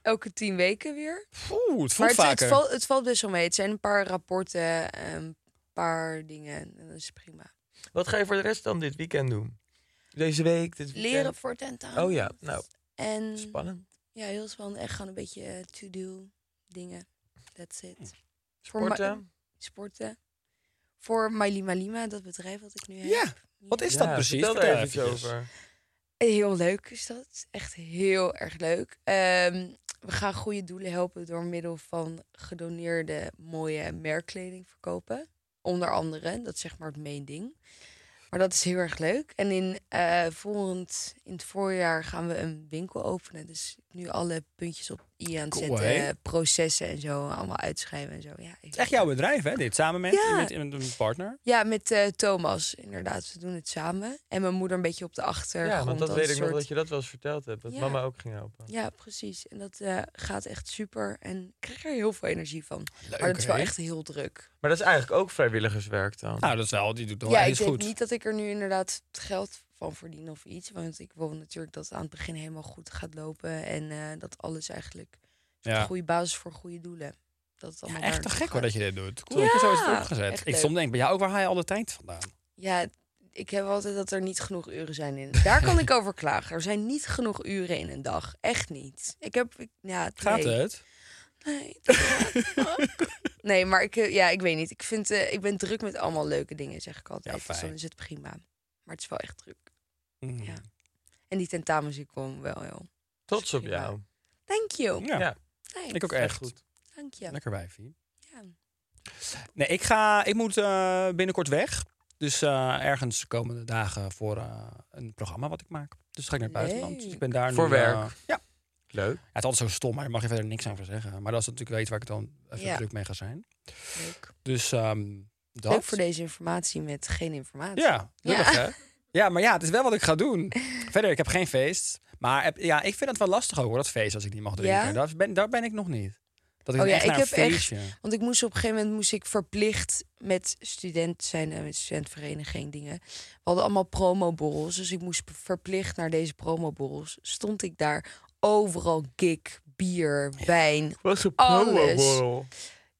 S4: Elke tien weken weer.
S2: Oeh, het voelt
S4: maar het, het,
S2: vaker.
S4: valt, het valt best wel mee. Het zijn een paar rapporten, een paar dingen. En dat is prima.
S3: Wat ga je voor de rest dan dit weekend doen? Deze week? Dit weekend?
S4: Leren voor tentamen.
S3: Oh ja, nou,
S4: En
S3: spannend.
S4: ja, heel spannend. Echt gewoon een beetje eh, to-do dingen. That's it. Voor ma-
S3: Sporten?
S4: sporten. Voor Mailima Lima, dat bedrijf wat ik nu heb.
S2: Ja, wat is dat
S3: Ja,
S2: precies?
S3: Vertel
S2: Vertel
S3: daar even
S2: eventjes.
S3: iets over.
S4: Heel leuk is dat. Echt heel erg leuk. Ehm, we gaan goede doelen helpen door middel van gedoneerde mooie merkkleding verkopen. Onder andere, dat is zeg maar het main ding. Maar dat is heel erg leuk. En in, eh, volgend, in het voorjaar gaan we een winkel openen. Dus nu alle puntjes op i aan het
S2: Cool,
S4: zetten.
S2: hè?
S4: eh, Processen en zo, allemaal uitschrijven en zo. Ja,
S2: Het is echt jouw bedrijf, hè? Dit samen met,
S4: Ja.
S2: met, met een partner.
S4: Ja, met eh, Thomas inderdaad. We doen het samen. En mijn moeder een beetje op de achtergrond.
S3: Ja, want dat
S4: als
S3: weet ik
S4: een
S3: nog
S4: soort-
S3: dat je dat wel eens verteld hebt. Dat
S4: Ja.
S3: mama ook ging helpen.
S4: Ja, precies. En dat eh, gaat echt super. En ik krijg er heel veel energie van.
S2: Leuk,
S4: maar het is wel
S2: hè?
S4: echt heel druk.
S3: Maar dat is eigenlijk ook vrijwilligerswerk dan.
S2: Nou, dat is wel, die doet wel
S4: ja,
S2: ja,
S4: ik
S2: iets
S4: denk
S2: goed.
S4: niet dat ik er nu inderdaad het geld van verdien of iets. Want ik wil natuurlijk dat het aan het begin helemaal goed gaat lopen. En eh, dat alles eigenlijk een
S2: Ja.
S4: goede basis voor goede doelen. Dat het
S2: Ja,
S4: allemaal
S2: Oh, echt
S4: daar
S2: te
S4: naartoe
S2: gek hoor
S4: gaat.
S2: dat je dit doet. Cool dat je zo is
S4: Ja,
S2: opgezet.
S4: echt
S2: Ik
S4: leuk.
S2: soms denk bij jou ook, waar haal je al de tijd vandaan?
S4: Ja, ik heb altijd dat er niet genoeg uren zijn in. Daar kan ik over klagen. Er zijn niet genoeg uren in een dag. Echt niet. Ik heb... ik- ja,
S2: Gaat
S4: nee.
S2: het?
S4: Nee, dat- nee maar ik, eh, ja, ik weet niet. Ik, vind, eh, ik ben druk met allemaal leuke dingen, zeg ik altijd.
S2: Ja, fijn.
S4: Dus dan is het prima. Maar het is wel echt druk.
S2: Mm.
S4: Ja. En die tentamens die komen wel, joh.
S3: Trots op
S4: Prima.
S3: jou.
S4: Thank you.
S2: Ja,
S3: Ja.
S4: Thanks.
S2: ik ook echt.
S3: goed.
S4: Dank je.
S2: Lekker wijfie.
S4: Ja.
S2: Nee, ik, ga, ik moet eh, binnenkort weg. Dus eh, ergens de komende dagen voor eh, een programma wat ik maak. Dus ga ik naar het buitenland. Dus ik ben daar nu,
S3: Voor werk?
S2: eh, ja.
S3: Leuk.
S2: Ja, het is altijd zo stom, maar daar mag je verder niks over zeggen. Maar dat is natuurlijk wel iets waar ik dan even
S4: Ja.
S2: druk mee ga zijn.
S4: Leuk.
S2: Dus ehm dat.
S4: Leuk voor deze informatie met geen informatie.
S2: Ja, lullig,
S4: Ja.
S2: hè? Ja, maar ja, het is wel wat ik ga doen. Verder, ik heb geen feest. Maar heb- ja, ik vind het wel lastig ook, hoor, dat feest als ik niet mag drinken.
S4: Ja?
S2: Daar, ben, daar ben ik nog niet. Dat ik
S4: Oh
S2: dan
S4: ja,
S2: echt
S4: ik
S2: naar een
S4: heb echt-
S2: feestje.
S4: Want ik moest op een gegeven moment moest ik verplicht met student zijn en met studentvereniging dingen. We hadden allemaal promoborrels, dus ik moest verplicht naar deze promoborrels. Stond ik daar overal gik, bier, wijn.
S3: Was een
S4: Alles.
S3: promo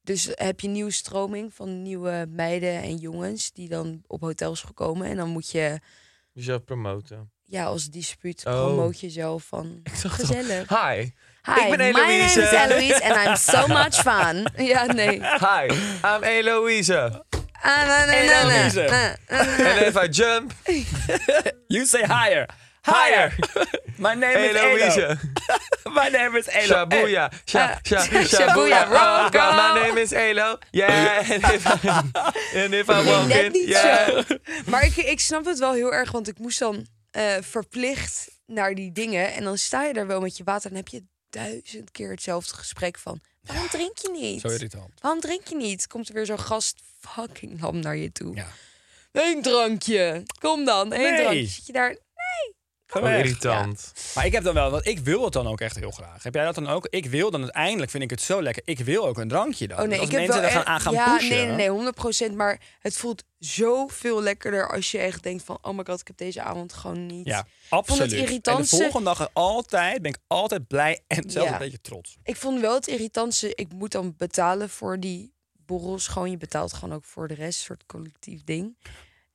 S4: Dus heb je nieuwe stroming van nieuwe meiden en jongens die dan op hotels gekomen en dan moet je
S3: Jezelf promoten.
S4: ja als dispuut
S3: Oh.
S4: promoot jezelf van gezellig.
S3: Hi.
S4: Hi,
S3: Ik ben
S4: my name is
S3: Eloïse.
S4: Eloise and I'm so much fun. Ja, nee.
S3: Hi. I'm Eloise.
S4: Ah, na, na, na, na,
S2: Eloïse.
S4: na, na, na.
S3: En if I jump,
S2: You say higher. Higher. My name is Elo.
S3: Eloise.
S2: My name is Elo. Eh,
S3: Shabuya. Sha, sha,
S4: Shabuya
S3: shabuya.
S4: rock
S3: Ah,
S4: on.
S3: my name is Elo. Yeah. And if I, and if I
S4: Nee,
S3: walk
S4: net
S3: in.
S4: niet Oh,
S3: yeah.
S4: zo. Maar ik, ik snap het wel heel erg, want ik moest dan eh, verplicht naar die dingen. En dan sta je daar wel met je water en heb je duizend keer hetzelfde gesprek van... Waarom drink je niet?
S2: Zo irritant.
S4: Waarom drink je niet? Komt er weer zo'n gast fucking lam naar je toe.
S2: Ja.
S4: Eén drankje. Kom dan, één
S2: Nee.
S4: drankje. Zit je daar...
S2: Ga
S3: Oh,
S2: weg.
S3: irritant.
S2: Maar ik heb dan wel, want ik wil het dan ook echt heel graag. Heb jij dat dan ook? Ik wil dan uiteindelijk, vind ik het zo lekker. Ik wil ook een drankje dan.
S4: Oh nee,
S2: Dus
S4: ik
S2: als
S4: heb
S2: mensen
S4: wel
S2: daar
S4: echt...
S2: gaan, aan gaan
S4: ja,
S2: pushen.
S4: nee, nee, nee, 100 Maar het voelt zoveel lekkerder als je echt denkt van... Oh my god, ik heb deze avond gewoon niet...
S2: Ja,
S4: Ik vond
S2: absoluut.
S4: het irritantste...
S2: En de volgende dag altijd ben ik altijd blij en zelfs
S4: Ja.
S2: een beetje trots.
S4: Ik vond wel het irritantste... Ik moet dan betalen voor die borrels. Gewoon, je betaalt gewoon ook voor de rest. Een soort collectief ding.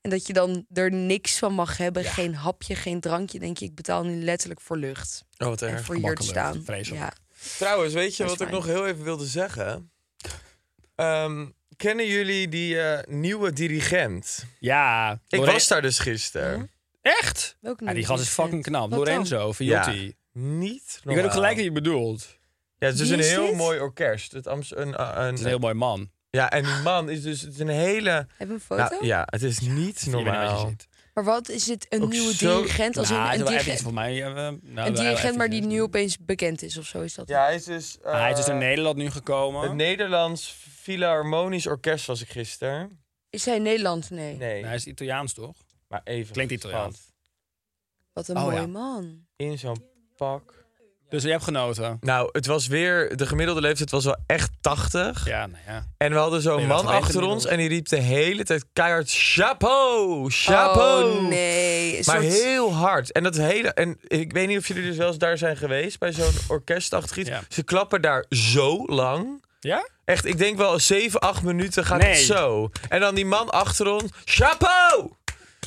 S4: En dat je dan er niks van mag hebben. Geen hapje, geen drankje. Denk je, ik betaal nu letterlijk voor lucht.
S3: Oh, wat
S4: en
S3: erg.
S4: voor hier te
S2: gemakkelijk.
S4: staan.
S2: Vreselijk.
S4: Ja.
S3: Trouwens, weet je
S4: Dat is
S3: wat ik
S4: fijn.
S3: nog heel even wilde zeggen? Ehm, kennen jullie die eh, nieuwe dirigent?
S2: Ja,
S3: Ik
S2: Loren-
S3: was daar dus
S4: Hm?
S3: gisteren.
S2: Echt?
S4: Welke
S2: Ja, die
S4: nieuwe
S2: gast is
S4: dirigent?
S2: fucking knap.
S4: eh, Wat
S2: Lorenzo, Viotti.
S3: Ja. Niet
S2: Ik weet ook
S3: normaal.
S2: gelijk wie je bedoelt. Het
S3: Ja, het is dus
S4: Wie
S3: een
S4: is
S3: heel
S4: dit?
S3: mooi orkest. Het Amst een, eh, een,
S2: is een heel mooi man.
S3: Ja, en die man is dus het is een hele...
S4: Heb je een foto?
S3: Nou, ja, het is niet
S2: Je weet niet waar je
S3: normaal.
S2: zit.
S4: Maar wat is dit? Een
S3: Ook
S4: nieuwe
S3: zo-
S4: dirigent? Als in
S2: Nou, hij is
S4: een,
S2: wel
S4: dirigent,
S2: eventjes voor mij. eh, nou, wel
S4: een dirigent, maar
S2: eventjes.
S4: die nu opeens bekend is of zo is dat.
S3: Ja, hij is dus... eh,
S2: Ah, hij is dus naar Nederland nu gekomen.
S3: Het Nederlands Philharmonisch Orkest was ik gisteren.
S4: Is hij Nederlands? Nee.
S3: Nee,
S2: Nee, hij is Italiaans, toch?
S3: maar even.
S2: Klinkt
S3: gespannen.
S2: Italiaans.
S4: Wat een
S2: Oh,
S4: mooi
S2: ja.
S4: man.
S3: In zo'n pak.
S2: Dus je hebt genoten.
S3: Nou, het was weer... De gemiddelde leeftijd was wel echt 80.
S2: Ja, nou ja.
S3: En we hadden zo'n
S2: Nee, dat
S3: man
S2: weten
S3: achter
S2: we
S3: ons
S2: nog.
S3: en die riep de hele tijd keihard... Chapeau! Chapeau!
S4: Oh nee. Een
S3: Maar
S4: soort-
S3: heel hard. En dat hele. En ik weet niet of jullie dus wel eens daar zijn geweest bij zo'n orkestachtig iets.
S2: Ja.
S3: Ze klappen daar zo lang.
S2: Ja?
S3: Echt, ik denk wel 7, 8 minuten gaat
S2: Nee.
S3: het zo. En dan die man achter ons. Chapeau!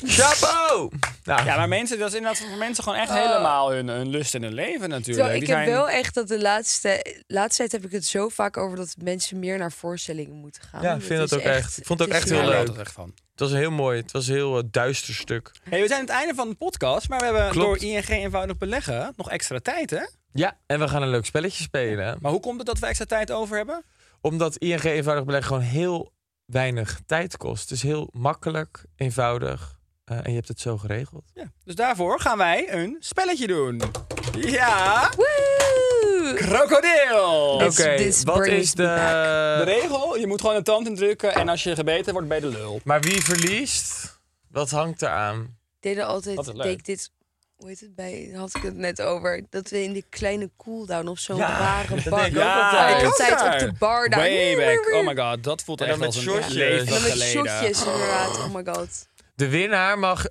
S3: Chapeau! Nou,
S2: Ja, maar mensen, dat is inderdaad voor mensen gewoon echt helemaal hun, hun lust en hun leven natuurlijk.
S4: Oh. Terwijl ik
S2: Die
S4: heb
S2: zijn-
S4: wel echt dat de laatste, laatste tijd heb ik het zo vaak over dat mensen meer naar voorstellingen moeten gaan.
S3: Ja, ik vind dat
S4: is
S3: ook echt. Ik vond het ook
S4: is
S3: echt
S2: Ja,
S3: heel
S2: daar
S4: waar.
S3: leuk.
S2: houdt het echt van.
S3: het was heel mooi. Het was een heel eh, duister stuk.
S2: Hey, we zijn aan het einde van de podcast, maar we hebben
S3: Klopt.
S2: door ING eenvoudig beleggen nog extra tijd, hè?
S3: Ja, en we gaan een leuk spelletje spelen.
S2: Maar hoe komt het dat we extra tijd over hebben?
S3: Omdat ING eenvoudig beleg gewoon heel weinig tijd kost. Het is heel makkelijk, eenvoudig. eh, en je hebt het zo geregeld.
S2: Ja. Dus daarvoor gaan wij een spelletje doen. Ja,
S4: Woe!
S2: krokodil!
S4: Oké.
S3: Oké,
S4: this
S3: wat
S4: brings
S3: is
S4: me
S3: de...
S2: De regel, je moet gewoon een tand indrukken en als je gebeten wordt, bij de lul.
S3: Maar wie verliest, wat hangt eraan?
S4: Ik deed er
S2: Wat een
S4: altijd,
S2: leuk.
S4: deed ik dit, hoe heet het bij, had ik het net over, dat we in die kleine cooldown of zo'n
S3: Ja, dat
S4: rare
S3: denk
S4: bar.
S3: ik ook altijd.
S4: Ik
S3: Ik ook
S4: altijd
S2: daar.
S4: op de bar daar.
S2: Way back. Oh my god, dat voelt
S3: En
S2: echt
S3: dan
S2: als
S3: met
S2: een
S3: shotjes.
S2: leven
S3: En
S4: En dan met
S2: geleden.
S4: shotjes inderdaad, oh my god.
S3: De winnaar mag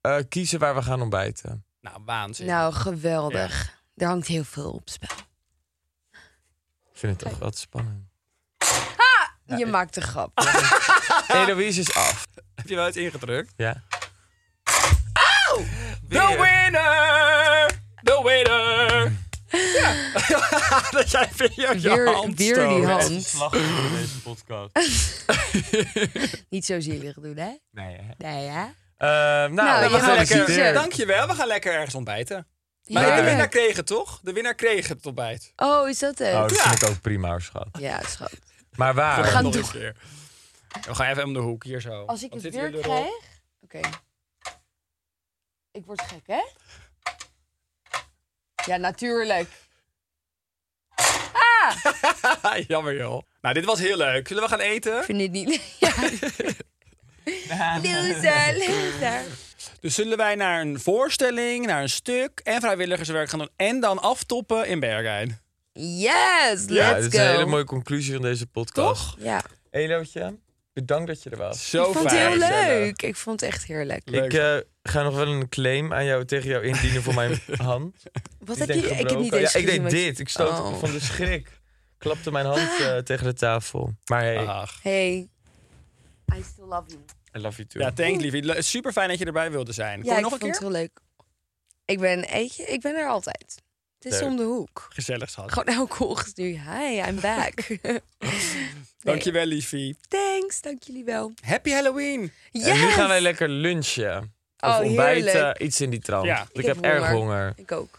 S3: eh, kiezen waar we gaan ontbijten.
S2: Nou, waanzin.
S4: Nou, geweldig. Er hangt heel veel op spel.
S3: Ik vind het toch wat spannend.
S4: je maakt een grap. Ah.
S3: Eloise is af.
S2: Heb je wel eens ingedrukt?
S3: Ja.
S2: The winner! The winner! Ja, dat jij weer je
S4: Weer,
S2: hand
S4: weer die
S2: stoot.
S4: hand.
S3: in deze podcast.
S4: Niet zo zielig doen, hè?
S3: Nee, hè?
S4: Nee, ja.
S3: Ehm, nou,
S4: Nou,
S3: we
S4: je
S3: gaan
S4: mag
S3: lekker-
S4: kiezen.
S2: Dankjewel, we gaan lekker ergens ontbijten. Maar de winnaar kreeg het, toch? De winnaar kreeg het ontbijt.
S4: Oh, is dat het?
S3: Oh, dat
S2: Ja.
S3: vind ik ook prima, hoor, schat.
S4: Ja, schat.
S3: Maar waar?
S4: We gaan
S2: Nog
S4: doen.
S2: een keer. We gaan even om de hoek, hier zo.
S4: Als ik
S2: Want
S4: het
S2: zit
S4: weer
S2: hier de
S4: krijg...
S2: rol-
S4: Oké. Ik word gek, hè? Ja, natuurlijk. Ah!
S2: Jammer joh. Nou, dit was heel leuk. Zullen we gaan eten?
S4: Ik vind dit niet... Ja. Loser, loser.
S2: Dus zullen wij naar een voorstelling, naar een stuk en vrijwilligerswerk gaan doen. En dan aftoppen in Bergijn.
S4: Yes, let's
S3: Ja, dit is
S4: go.
S3: een hele mooie conclusie van deze podcast.
S2: Toch?
S4: Ja,
S3: Elootje, bedankt dat je er was.
S2: Zo
S4: ik vond het
S2: fijn.
S4: heel leuk. Ik vond het echt heerlijk.
S2: Leuk.
S3: Ik eh, ga nog wel een claim aan jou, tegen jou indienen voor mijn hand.
S4: Wat
S3: Die
S4: heb je?
S3: denk
S4: Ik heb niet
S3: gebroken.
S4: eens
S3: ja, Ik deed
S4: gezien wat je-
S3: dit. Ik stoot
S4: Oh. Ah.
S3: van de schrik. Klapte mijn hand eh, tegen de tafel. Maar hey,
S2: Ach.
S4: Hey. I still love you.
S3: I love you too.
S2: Ja, thanks liefie. Super fijn dat je erbij wilde zijn. Kom
S4: Ja, ik
S2: nog een
S4: vond
S2: keer?
S4: het heel leuk. Ik ben, eetje, ik ben er altijd. Het is
S3: Leuk.
S4: om de hoek.
S2: Gezellig schat.
S4: Gewoon elke ochtend nu. Hi, I'm back. Nee.
S2: Dankjewel liefie.
S4: Thanks, dank jullie wel.
S2: Happy Halloween.
S4: Yes!
S3: En nu gaan wij lekker lunchen. Of
S4: Oh,
S3: ontbijten,
S4: heerlijk.
S3: iets in die trant.
S2: Ja.
S3: Want
S4: Ik
S3: Ik,
S4: heb
S3: heb, erg honger.
S4: Ik ook.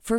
S6: For